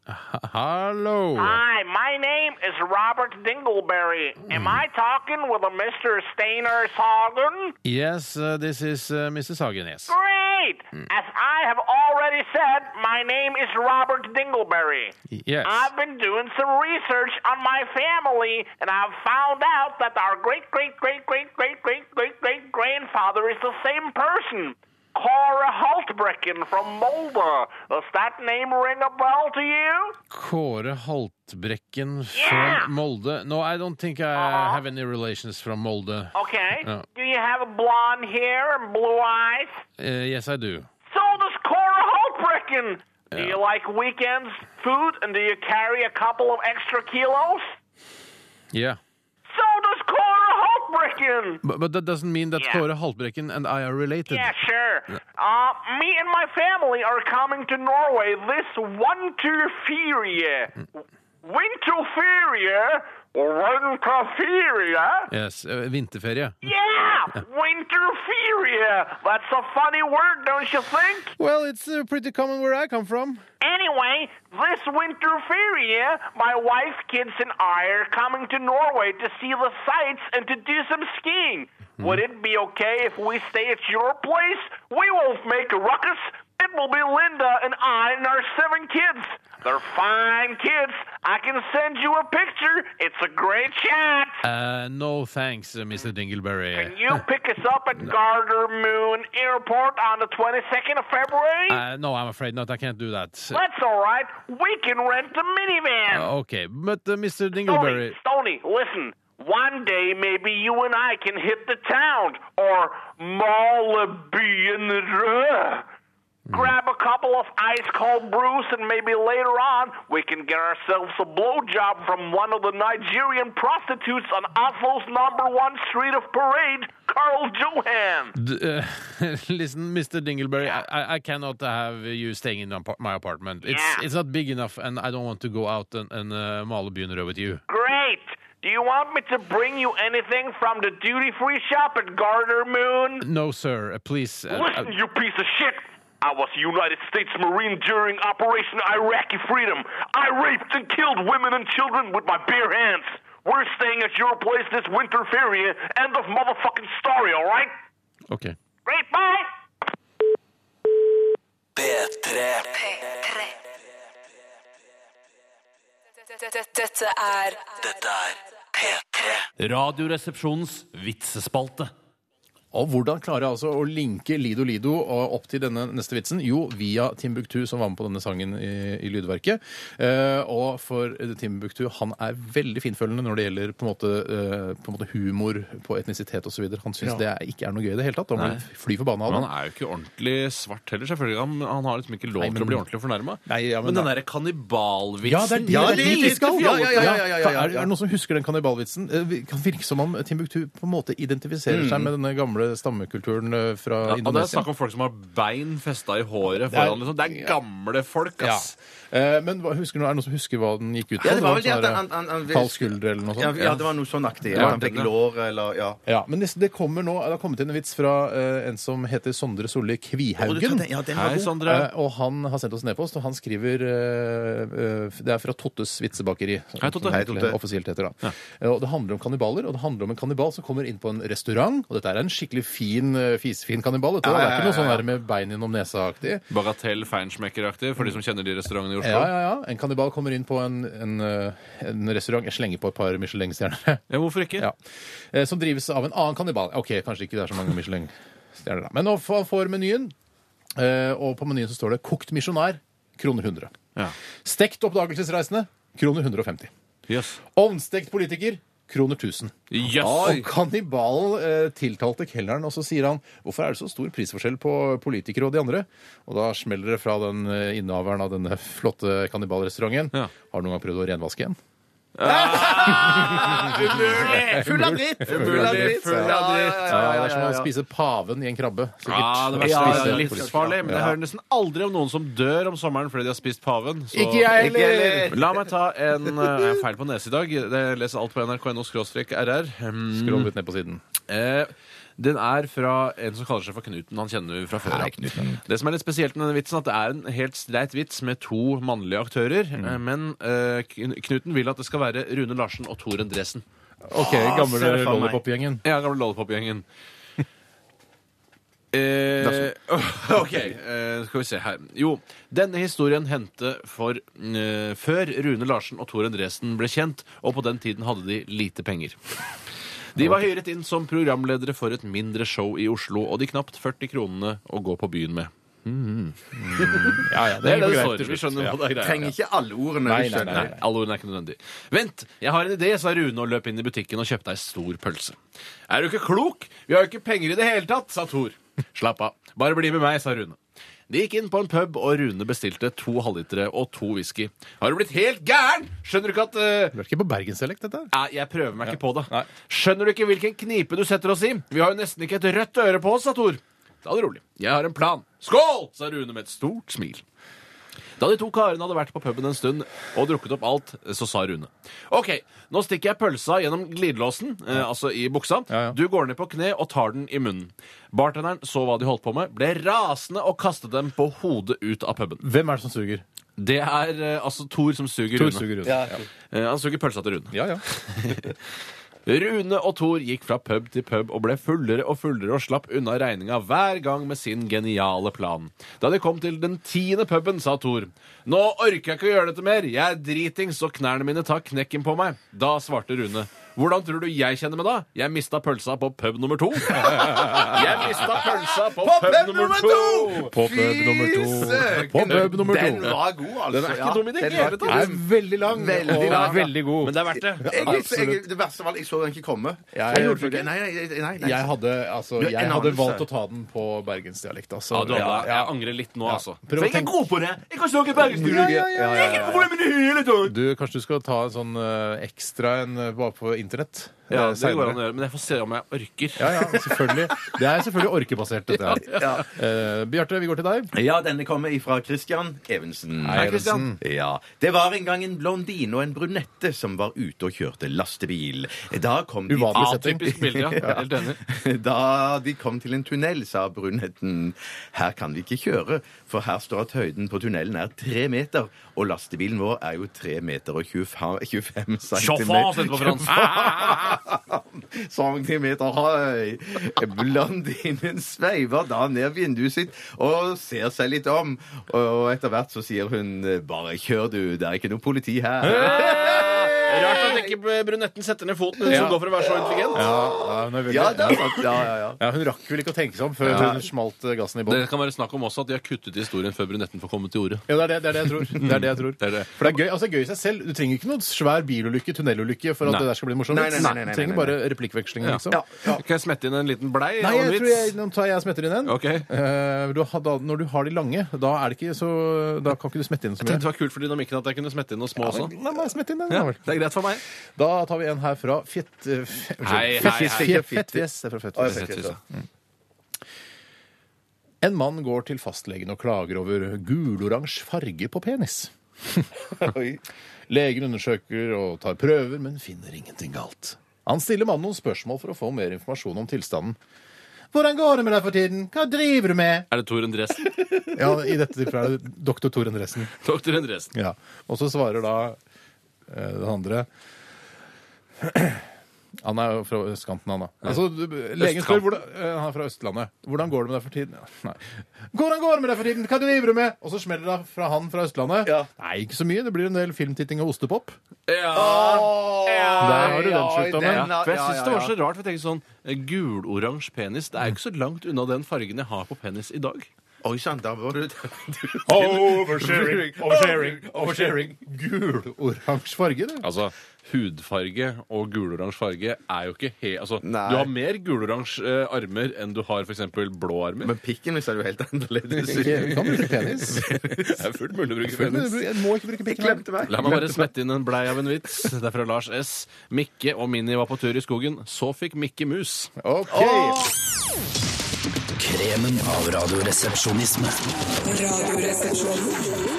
Oh. Hallo. Hi, my name is Robert Dingleberry. Hmm. Am I talking with a Mr. Stainer Hagen? Yes, uh, this is uh, Mrs. Hagen, yes. Hmm. Great! As I have already said, my name is Robert Dingleberry. Yes. I've been doing some research on my family, and I've found out that our great, great, great, great, great, great, great, great grandfather is the same person. Cora Hultbrecken from Molde. Does that name ring a bell to you? Kåre Haltbrekken fra Molde. No, I don't think I have any relations from Molde. Okay. No. Do you have blonde hair and blue eyes? Uh, yes, I do. So does Cora Hultbrecken. Do you like weekends food, and do you carry a couple of extra kilos? Yeah. So does Cora Hultbrecken. But, but that doesn't mean that Kåre Haltbrekken and I are related. Yeah, sure. Uh, me and my family are coming to Norway this winter feria. Winter feria or winter feria? Yes, uh, vinterferie. Yeah, winter feria. That's a funny word, don't you think? Well, it's uh, pretty common where I come from. Anyway, this winter feria, my wife, kids, and I are coming to Norway to see the sights and to do some skiing. Would it be okay if we stay at your place? We won't make a ruckus. It will be Linda and I and our seven kids. They're fine kids. I can send you a picture. It's a great shot. Uh, no thanks, uh, Mr. Dingleberry. You pick us up at Garter Moon Airport on the 22nd of February? Uh, no, I'm afraid not. I can't do that. That's all right. We can rent a minivan. Uh, okay, but uh, Mr. Stony, Dingleberry. Stony, listen. One day, maybe you and I can hit the town or Malibu in the drug. Grab a couple of ice cold brews, and maybe later on we can get ourselves a blowjob from one of the Nigerian prostitutes on Oslo's number one street of parade, Carl Johan. D- uh, listen, Mr. Dingleberry, I, I- I cannot have you staying in apar- my apartment. It's it's not big enough, and I don't want to go out and, and uh, male begynner with you. Great. Do you want me to bring you anything from the duty free shop at Garter Moon? No, sir. Uh, please. Uh, uh, Listen, you piece of shit! I was a United States Marine during Operation Iraqi Freedom. I raped and killed women and children with my bare hands. We're staying at your place this winter feria. End of motherfucking story, alright? Okay. Great, bye! Dette er Dette er Radioresepsjonens vitsespalte. Og hvordan klarer jeg altså å linke Lido Lido og opp til denne neste vitsen? Jo, via Timbuktu, som var med på denne sangen i, i lydverket. Eh, og for Timbuktu, han er veldig finfølende når det gjelder på en måte, eh, på en måte humor på etnisitet osv. Han syns Ja. det er- ikke er noe gøy i det hele tatt. Han Nei. blir fly forbanna av Men det. han er jo ikke ordentlig svart heller, selvfølgelig. Han, han har liksom ikke lov Nei, men- til å bli ordentlig fornærma. Nei, ja, men men den da- derre kannibalvitsen Ja, det er dit- det er dit vi skal! Ja, ja, ja, ja, ja, ja, Er det er det noen som husker den kannibalvitsen? Eh, vi- kan virke som om Timbuktu på en måte identifiserer Mm. seg med denne gamle stammekulturen eh, fra Ja, og det er Indonesia. snakk om folk som har bein festa i håret Det er- foran. Liksom. Det er gamle folk, Ja. ass! Eh, men hva, husker du, er det noen som husker hva den gikk ut på? Ja, det var vel en det at sånn han- der, han- han- Kald skulder eller noe sånt? Ja, ja, det var noe sånn aktig. ja. Han fikk lår eller ja. Ja, men det, det kommer nå, det har kommet inn en vits fra eh, en som heter Sondre Solli Å, du Kvihaugen. kan den- ja, den var Hei, god. Sondre. Eh, og han har sendt oss en e-post, og han skriver eh, eh, Det er fra Tottes vitsebakeri. Hei, Totte. som det Hei, Totte. egentlig Offisielt heter da. Eh, og det handler om kannibaler, og det handler om en kannibal som kommer inn på en restaurant, og dette er en skikkelig fin, eh, fisefin kannibal. Dette, Ja, Det ja, er ikke noe ja, sånn ja. der med bein innom nesa-aktig. Bagatell feinschmecker-aktig, for de som kjenner de restaurantene i Oslo. Ja, ja, ja. En kannibal kommer inn på en, en, eh, en restaurant Jeg slenger på et par Michelin-stjerner. Ja, hvorfor ikke? Eh, Som drives av en annen kannibal. OK, kanskje ikke det er så mange Michelin-stjerner, da. Men nå får- får menyen, eh, og på menyen så står det 'Kokt misjonær', kroner 100. Stekt oppdagelsesreisende, kroner 150. Ovnstekt politiker, kroner 1000. Yes. Og kannibalen eh, tiltalte kelneren, og så sier han hvorfor er det så stor prisforskjell på politikere og de andre? Og da smeller det fra den eh, innehaveren av denne flotte kannibalrestauranten. Har du noen gang prøvd å renvaske en? Ah! Ah! Umulig! Full av dritt! Full av dritt! Ja, det er som å spise paven i en krabbe. sikkert. Ja, det verste er Ja, at det ja, er livsfarlig. Men jeg ja. hører nesten aldri om noen som dør om sommeren fordi de har spist paven. så- Ikke jeg heller. La meg ta en eh, jeg er feil på nese i dag. Jeg leser alt på nrk.no rr. Skroll litt ned på siden. Mm. Eh, den er fra en som kaller seg for Knuten. Han kjenner du fra før. ja. Det som er litt spesielt med denne vitsen, at det er en helt streit vits med to mannlige aktører. eh, Men eh, Kn- Knuten vil at det skal være Rune Larsen og Tor Endresen. OK, gamle Lollipop-gjengen. Ja, gamle Lollipop-gjengen. Eh, OK, eh, skal vi se her. Jo, denne historien hendte for eh, før Rune Larsen og Tor Endresen ble kjent, og på den tiden hadde de lite penger. De var hyret inn som programledere for et mindre show i Oslo, og de knapt 40 kronene å gå på byen med. Mm, Ja, ja, det det er det det går greit står. til Vi slutt. skjønner Ja. hva det er greia. Trenger ikke alle ordene, Nei, vi nei, skjønner. nei, nei. Alle ordene er ikke nødvendig. Vent, jeg har en idé, sa Rune og løp inn i butikken og kjøpte ei stor pølse. Er du ikke klok? Vi har jo ikke penger i det hele tatt, sa Thor. Slapp av. Bare bli med meg, sa Rune. De gikk inn på en pub, og Rune bestilte to halvlitere og to whisky. Har du blitt helt gæren? Skjønner du ikke at eh, Du er ikke på Bergensdialekt, dette? Nei, jeg prøver meg ikke på det. Skjønner du ikke hvilken knipe du setter oss i? Vi har jo nesten ikke et rødt øre på oss, sa Tor. Ta det rolig. Jeg har en plan. Skål! sa Rune med et stort smil. Da de to karene hadde vært på puben en stund og drukket opp alt, så sa Rune OK, nå stikker jeg pølsa gjennom glidelåsen, eh, altså i buksa. Du går ned på kne og tar den i munnen. Bartenderen så hva de holdt på med, ble rasende og kastet dem på hodet ut av puben. Hvem er det som suger? Det er eh, altså Thor som suger Thor Rune. suger Rune. Ja, Ja. Eh, han suger pølsa til Rune. Ja, ja. Rune og Thor gikk fra pub til pub og ble fullere og fullere og slapp unna regninga hver gang med sin geniale plan. Da de kom til den tiende puben, sa Thor Nå orker jeg ikke å gjøre dette mer. Jeg er dritings, og knærne mine tar knekken på meg. Da svarte Rune. Hvordan tror du jeg kjenner meg da? Jeg mista pølsa på pub nummer to. Jeg mista pølsa på, På pub, nummer to! På pub nummer to. På pub nummer to. Den var god, altså. Den er ikke Ja, dum i den det hele var- tatt. Den er veldig lang Veldig og lang. veldig god. Men det er verdt det. Jeg, jeg, jeg, det verste var at jeg så den ikke komme. Jeg- jeg gjorde ikke. Nei, nei, nei, nei, nei. Jeg hadde, altså, Du, en jeg hadde anelse. valgt å ta den på bergensdialekt. Altså. Ja, du hadde- jeg angrer litt nå, altså. Prøv å For jeg er tenke- god på det! Jeg kan snakke bergensk! Ja, ja, ja, ja, ja. Hvordan mener du hele tatt? Du, Kanskje du skal ta en sånn eh, ekstra en eh, bare på internett? Ja, eh, det går an å senere. gjøre, men jeg får se om jeg orker. Ja, ja, selvfølgelig. Det er selvfølgelig orkebasert, dette her. Eh, Bjarte, vi går til deg. Ja, denne kommer ifra Christian Evensen. Hei, Christian. Ja. Det var en gang en blondine og en brunette som var ute og kjørte lastebil. Da kom de Uvanlig setting. Atypisk bilde, ja. Jeg er helt enig. Da de kom til en tunnel, sa brunetten her kan vi ikke kjøre, for her står at høyden på tunnelen er tre meter, og lastebilen vår er jo tre meter og 25 centimeter. Sjåfør, sier det på fransk. centimeter høy. Blondinen sveiver da ned vinduet sitt og ser seg litt om. Og etter hvert så sier hun 'bare kjør, du. Det er ikke noe politi her'. Rart at ikke brunetten setter ned foten, hun Ja. som går for å være så intelligent. Ja, ja, hun er veldig- Ja, det er sant. Ja, ja, ja. Ja, hun rakk vel ikke å tenke seg om før Ja. hun smalt eh, gassen i bånn. Det kan være snakk om også at de har kuttet historien før brunetten får komme til ordet. Mm. Ja, det er det, det er det jeg tror. Det er det jeg tror. Det er det. For det er gøy, altså, det er gøy i seg selv. Du trenger ikke noen svær bilulykke, tunnelulykke, for at Nei. det der skal bli morsomt. Nei, nei, nei, nei, nei, du trenger nei, nei. bare replikkvekslinger, Ja. liksom. Ja. Kan jeg smette inn en liten blei? Nei, og en jeg tror jeg, vits? nå tar jeg og smetter inn en. Ok. Eh, du har, da, når du har de lange, da, er det ikke så, da kan ikke du smette inn så Jeg mye. tenkte det var kult for dynamikken at jeg kunne smette inn noe små også. La meg smette inn den. Ja, da vel. det er greit for meg. Da tar vi en her fra Fjett... eh, f- Hei, unnskyld. hei, hei. Fjett- Fettfjes. Det er fra Å, ja, Fettfjes. Fettfjes, ja. Mm. En mann går til fastlegen og klager over guloransje farge på penis. Legen undersøker og tar prøver, men finner ingenting galt. Han stiller mannen noen spørsmål for å få mer informasjon om tilstanden. Hvordan går det med deg for tiden? Hva driver du med? Er det Tor Endresen? Ja, I dette tilfellet er det doktor Tor Endresen. Doktor Endresen. Ja. Og så svarer da eh, den andre Han er jo fra østkanten, han da. Altså, du- legen spør Østkanten. hvordan, eh, Han er fra Østlandet. Hvordan går det med deg for tiden? Ja, Nei. Hvordan går det med deg for tiden? Hva driver du med? Og så smeller det fra han fra Østlandet. Nei, ikke så mye. Det blir en del filmtitting og ostepop. Der har du den sjukdommen. Ja, for jeg synes det var så rart. for jeg tenker sånn, eh, Guloransje penis det er jo ikke så langt unna den fargen jeg har på penis i dag. Oi sann, da var du Oversharing, oversharing, oversharing. Gul, oransje farge, det. Altså, hudfarge og guloransje farge er jo ikke helt altså, Du har mer guloransje eh, armer enn du har f.eks. blå armer. Men pikken hvis er jo helt annerledes. Du kan bruke penis. det er fullt mulig å bruke Fullt mulig å penis. bruke- Jeg må ikke bruke pikk. La meg bare smette inn en blei av en vits. Det er fra Lars S. Mikke og Minni var på tur i skogen. Så fikk Mikke mus. Kremen av radioresepsjonisme. Radioresepsjonen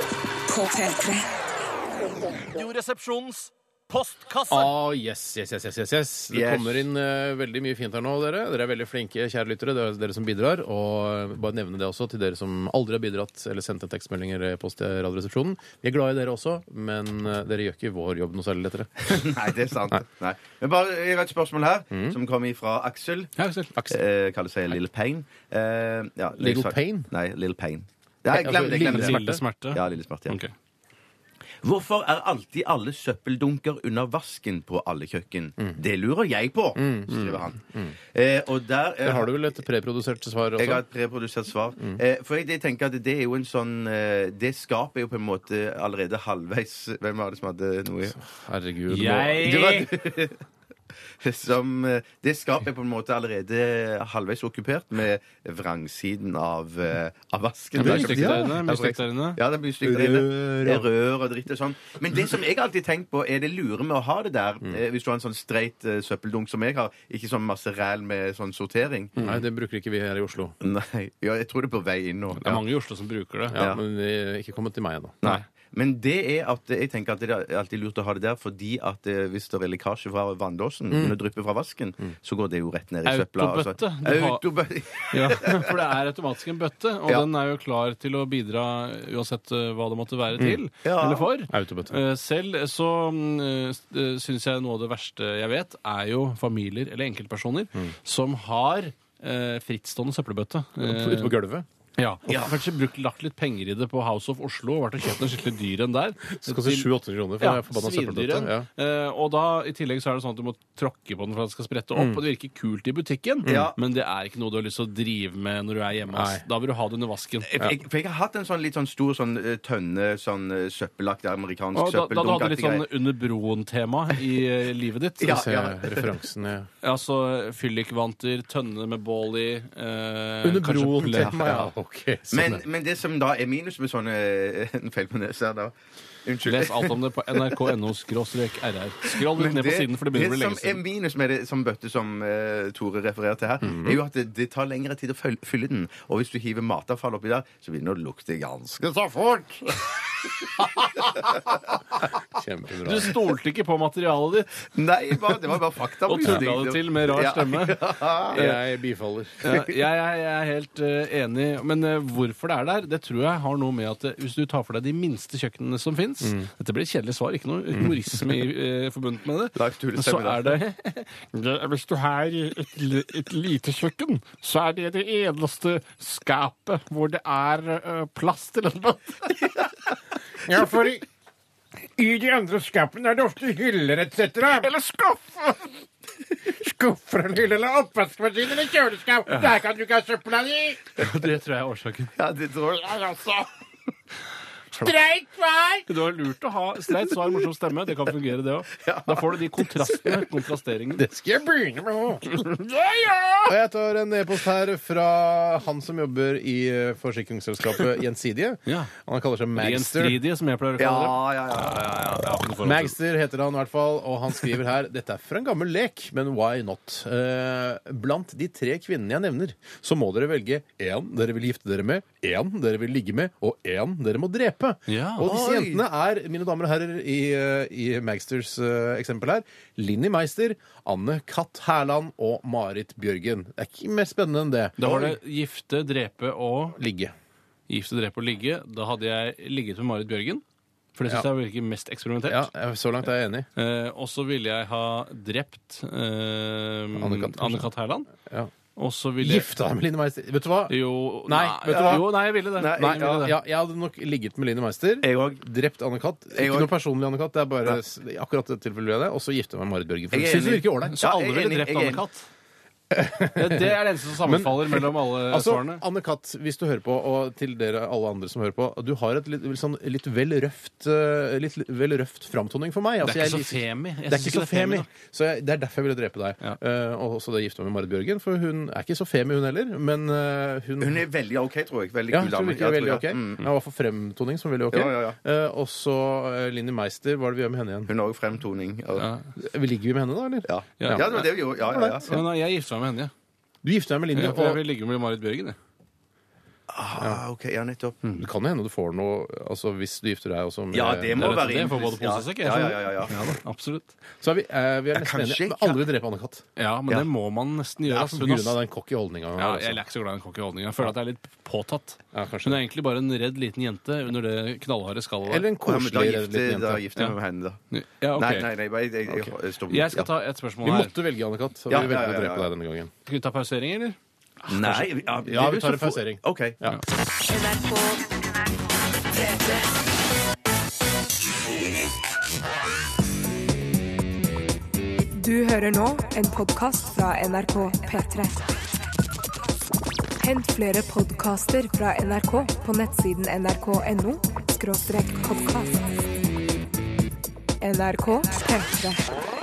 på P3. Radioresepsjonens postkasse. Ah, yes, yes, yes, yes, yes, yes. Det Yes. kommer inn eh, veldig mye fint her nå, dere. Dere er veldig flinke, kjære lyttere. Det er dere som bidrar. Og eh, bare nevne det også til dere som aldri har bidratt eller sendt en tekstmelding eller e-post til Radioresepsjonen. Vi er glad i dere også, men eh, dere gjør ikke vår jobb noe særlig lettere. Nei, det er sant. Nei. Men bare jeg har et spørsmål her, som kommer fra Aksel. Eh, kaller seg Little Pain. Eh, ja, jeg Little sa- Pain? Nei, Little Pain. Ja, jeg glemmer det. jeg Lille glemmer det. smerte. smerte. Ja, lille smerte. Ja. Hvorfor er alltid alle søppeldunker under vasken på alle kjøkken? Det lurer jeg på, skriver han. Eh, og der, eh, Der har du vel et preprodusert svar også? Mm. jeg har et preprodusert svar. Eh, for jeg, jeg tenker at det er jo en sånn eh, Det skapet er jo på en måte allerede halvveis Hvem var det som hadde noe i Herregud. Jeg- Det var du. Som, eh, det skapet er på en måte allerede halvveis okkupert med vrangsiden av, eh, av vasken. Ja, det er stygt der inne, mye stygt der inne. Ja, det er mye stygt Eh, der inne. Rør, Det ja. er Rør og dritt og sånn. Men det som jeg alltid tenker på, er det lure med å ha det der, Mm. eh, hvis du har en sånn streit eh, søppeldunk som jeg har, ikke sånn masse ræl med sånn sortering. Mm. Nei, det bruker ikke vi her i Oslo. Nei, ja, jeg tror det er på vei inn nå. Det er mange i Oslo som bruker det. Ja, Men eh, ikke kommet til meg ennå. Nei. Men det er at jeg tenker at det er alltid lurt å ha det der, fordi at eh, hvis det er lekkasje fra vanndåsen, Mm. når det drypper fra vasken, så går det jo rett ned i søpla. altså. Autobøtte. Du har- Autobøtte. Ja, for det er automatisk en bøtte, og Ja. den er jo klar til å bidra uansett eh, hva det måtte være til Mm. Ja. eller for. Autobøtte. Eh, Selv så uh, syns jeg noe av det verste jeg vet, er jo familier eller enkeltpersoner Mm. som har eh, frittstående søppelbøtte. Eh, Ute på gulvet? Ja. og Kanskje brukt, lagt litt penger i det på House of Oslo og vært og kjøpt noe skikkelig dyr enn der. Det koster 700-800 kroner for ja, en forbanna søppelbøtte, svindyr en. Eh, og da, I tillegg så er det sånn at du må tråkke på den for at den skal sprette opp. Mm. Og det virker kult i butikken, Ja. men det er ikke noe du har lyst til å drive med når du er hjemme. ass. Nei. Da vil du ha det under vasken. Jeg, jeg, for jeg har hatt en sånn litt sånn stor sånn eh, tønne, sånn eh, søppelaktig Og amerikansk da, da du hadde litt søppeldunk-aktig sånn greie. under broen-tema i eh, livet ditt. Ja, ja. Se referansen, ja. Altså fyllikvanter, tønne med bål i eh, Under kanskje broen-tema, plett. ja. Ok, sånn men, men det som da er minus med sånne eh, En feil på nesa da. Unnskyld. Les alt om det på nrk.no rr. Skroll litt Men ned på siden, for det begynner å bli lenge som er siden. minus med det som bøtte som eh, Tore refererer til her, Mhm. er jo at det, det tar lengre tid å fylle, fylle den. Og hvis du hiver matavfall oppi der, så begynner det å lukte ganske så fort. Kjempebra. Du stolte ikke på materialet ditt. Nei, bare- det var bare fakta. Og tulla det til med rar Ja. stemme. Eh, Jeg bifaller. Ja, jeg, jeg, jeg er helt eh, enig, men eh, hvorfor det er der, det tror jeg har noe med at eh, hvis du tar for deg de minste kjøkkenene som fins Dette blir et kjedelig svar, ikke noe humorisme i, eh, forbundet med Mm. det. Men så er det Det- Hvis du har et, li- et lite kjøkken, så er det det eneste skapet hvor det er eh, plass til en bøtte. ja, for i, I de andre skapene er det ofte hyller etc. Eller skuffer. Skuffer eller hyller eller oppvaskmaskin eller kjøleskap. Ja. Der kan du ikke ha søpla di. Det tror jeg er årsaken. Ja, det tror Ja, altså. Streit vei! Det var lurt å ha streit svar, morsom stemme. Det kan fungere, det òg. Da får du de kontrastene. kontrasteringene. Det skal Jeg begynner med å Og jeg tar en e-post her fra han som jobber i eh, forsikringsselskapet Gjensidige. Han kaller seg Magster. Gjenstridige, som jeg pleier å kalle det. Ja, ja, ja. forhold til- Magster heter han i hvert fall, og han skriver her Dette er fra en gammel lek, men why not? Eh, blant de tre kvinnene jeg nevner, så må dere velge én dere vil gifte dere med, én dere vil ligge med, og én dere må drepe. Og disse Oi. jentene er, mine damer og herrer, i, eh, i Magsters eh, eksempel her, Linni Meister, Anne Katt Hærland og Marit Bjørgen. Det er ikke mer spennende enn det. Da var det gifte, drepe og Ligge. Gifte, drepe og ligge. Da hadde jeg ligget med Marit Bjørgen. For det syns Ja. jeg virker mest eksperimentelt. Ja, jeg- så langt er jeg enig. Eh, og så ville jeg ha drept eh, Anne-Kat. Anne-Kat. Hærland. Ja. Og så ville jeg Gifta deg med Linni Meister. Vet du hva? Jo, Nei, nei, vet du hva? jo, nei, jeg ville det. Nei, Jeg ville ja, det. ja, jeg hadde nok ligget med Line Meister. Drept Anne-Kat. Ikke noe personlig Anne-Kat. Det er bare s- akkurat det tilfellet jeg er det. Og så gifte jeg meg med Marit Bjørgen. For Jeg er jeg synes det enig. virker ålreit. Så alle ville drept Anne-Kat? Det, det er det eneste som sammenfaller Men- mellom alle altså, svarene. Anne-Kat, hvis du hører på, og til dere alle andre som hører på, du har et litt, litt sånn, litt vel røft eh, litt vel røft framtoning for Det meg. er Altså, ikke jeg så femi. Jeg Det er synes ikke så femi. da. Så jeg, det er derfor jeg ville drepe deg. Eh, og så da gifte jeg meg med Marit Bjørgen, for hun er ikke så femi, hun heller. Men eh, hun Hun er veldig OK, tror jeg. Veldig ja, jeg tror kul dame. vi ikke er veldig jeg. ok. Mm. Ja, I hvert fall fremtoning som veldig ok. Ja, ja, Eh, og så eh, Linni Meister, hva er det vi gjør med henne igjen? Hun har òg fremtoning. Ligger vi med henne da, eller? Ja. Ja, det var det vi gjorde. Ja, ja, ja. Men nei, jeg gifta meg med henne. Du gifter deg med Linni. Ja, for jeg vil ligge med Marit Bjørgen. Jeg. Ah, ok, ja, nettopp. Det kan jo hende du får noe altså, hvis du gifter deg også med Ja, det må være Jeg får både pose og sekk. jeg. Ja, ja, ja, ja. Ja, da, absolutt. Så er vi, eh, vi er nesten kanskje enige. Men ikke. alle vil drepe Anne-Kat. Ja, men det må man nesten gjøre. Ja, ass. på Hun grunn har- av den cocky holdninga. hun Ja, har også. jeg er ikke så glad i den cocky holdningen. Jeg føler at det er litt påtatt. hun er egentlig bare en redd liten jente under det knallharde skallet. der. Eller en koselig Ja, men da gifter- da gifter jeg meg med henne, da. Ja, ok. Nei, nei, nei, jeg, jeg, jeg, jeg, står- Jeg skal ta et spørsmål Vi her. måtte velge Anne-Kat. så Ja, ja, Vi ja, velger å ja, drepe ja. deg denne gangen. Skal vi ta pausering, eller? Nei, Kanskje? ja, Ja, vi tar en pausering. Ok. Ja. Du hører nå en podkast fra NRK P3. Hent flere podkaster fra NRK på nettsiden nrk.no podkast. NRK P3.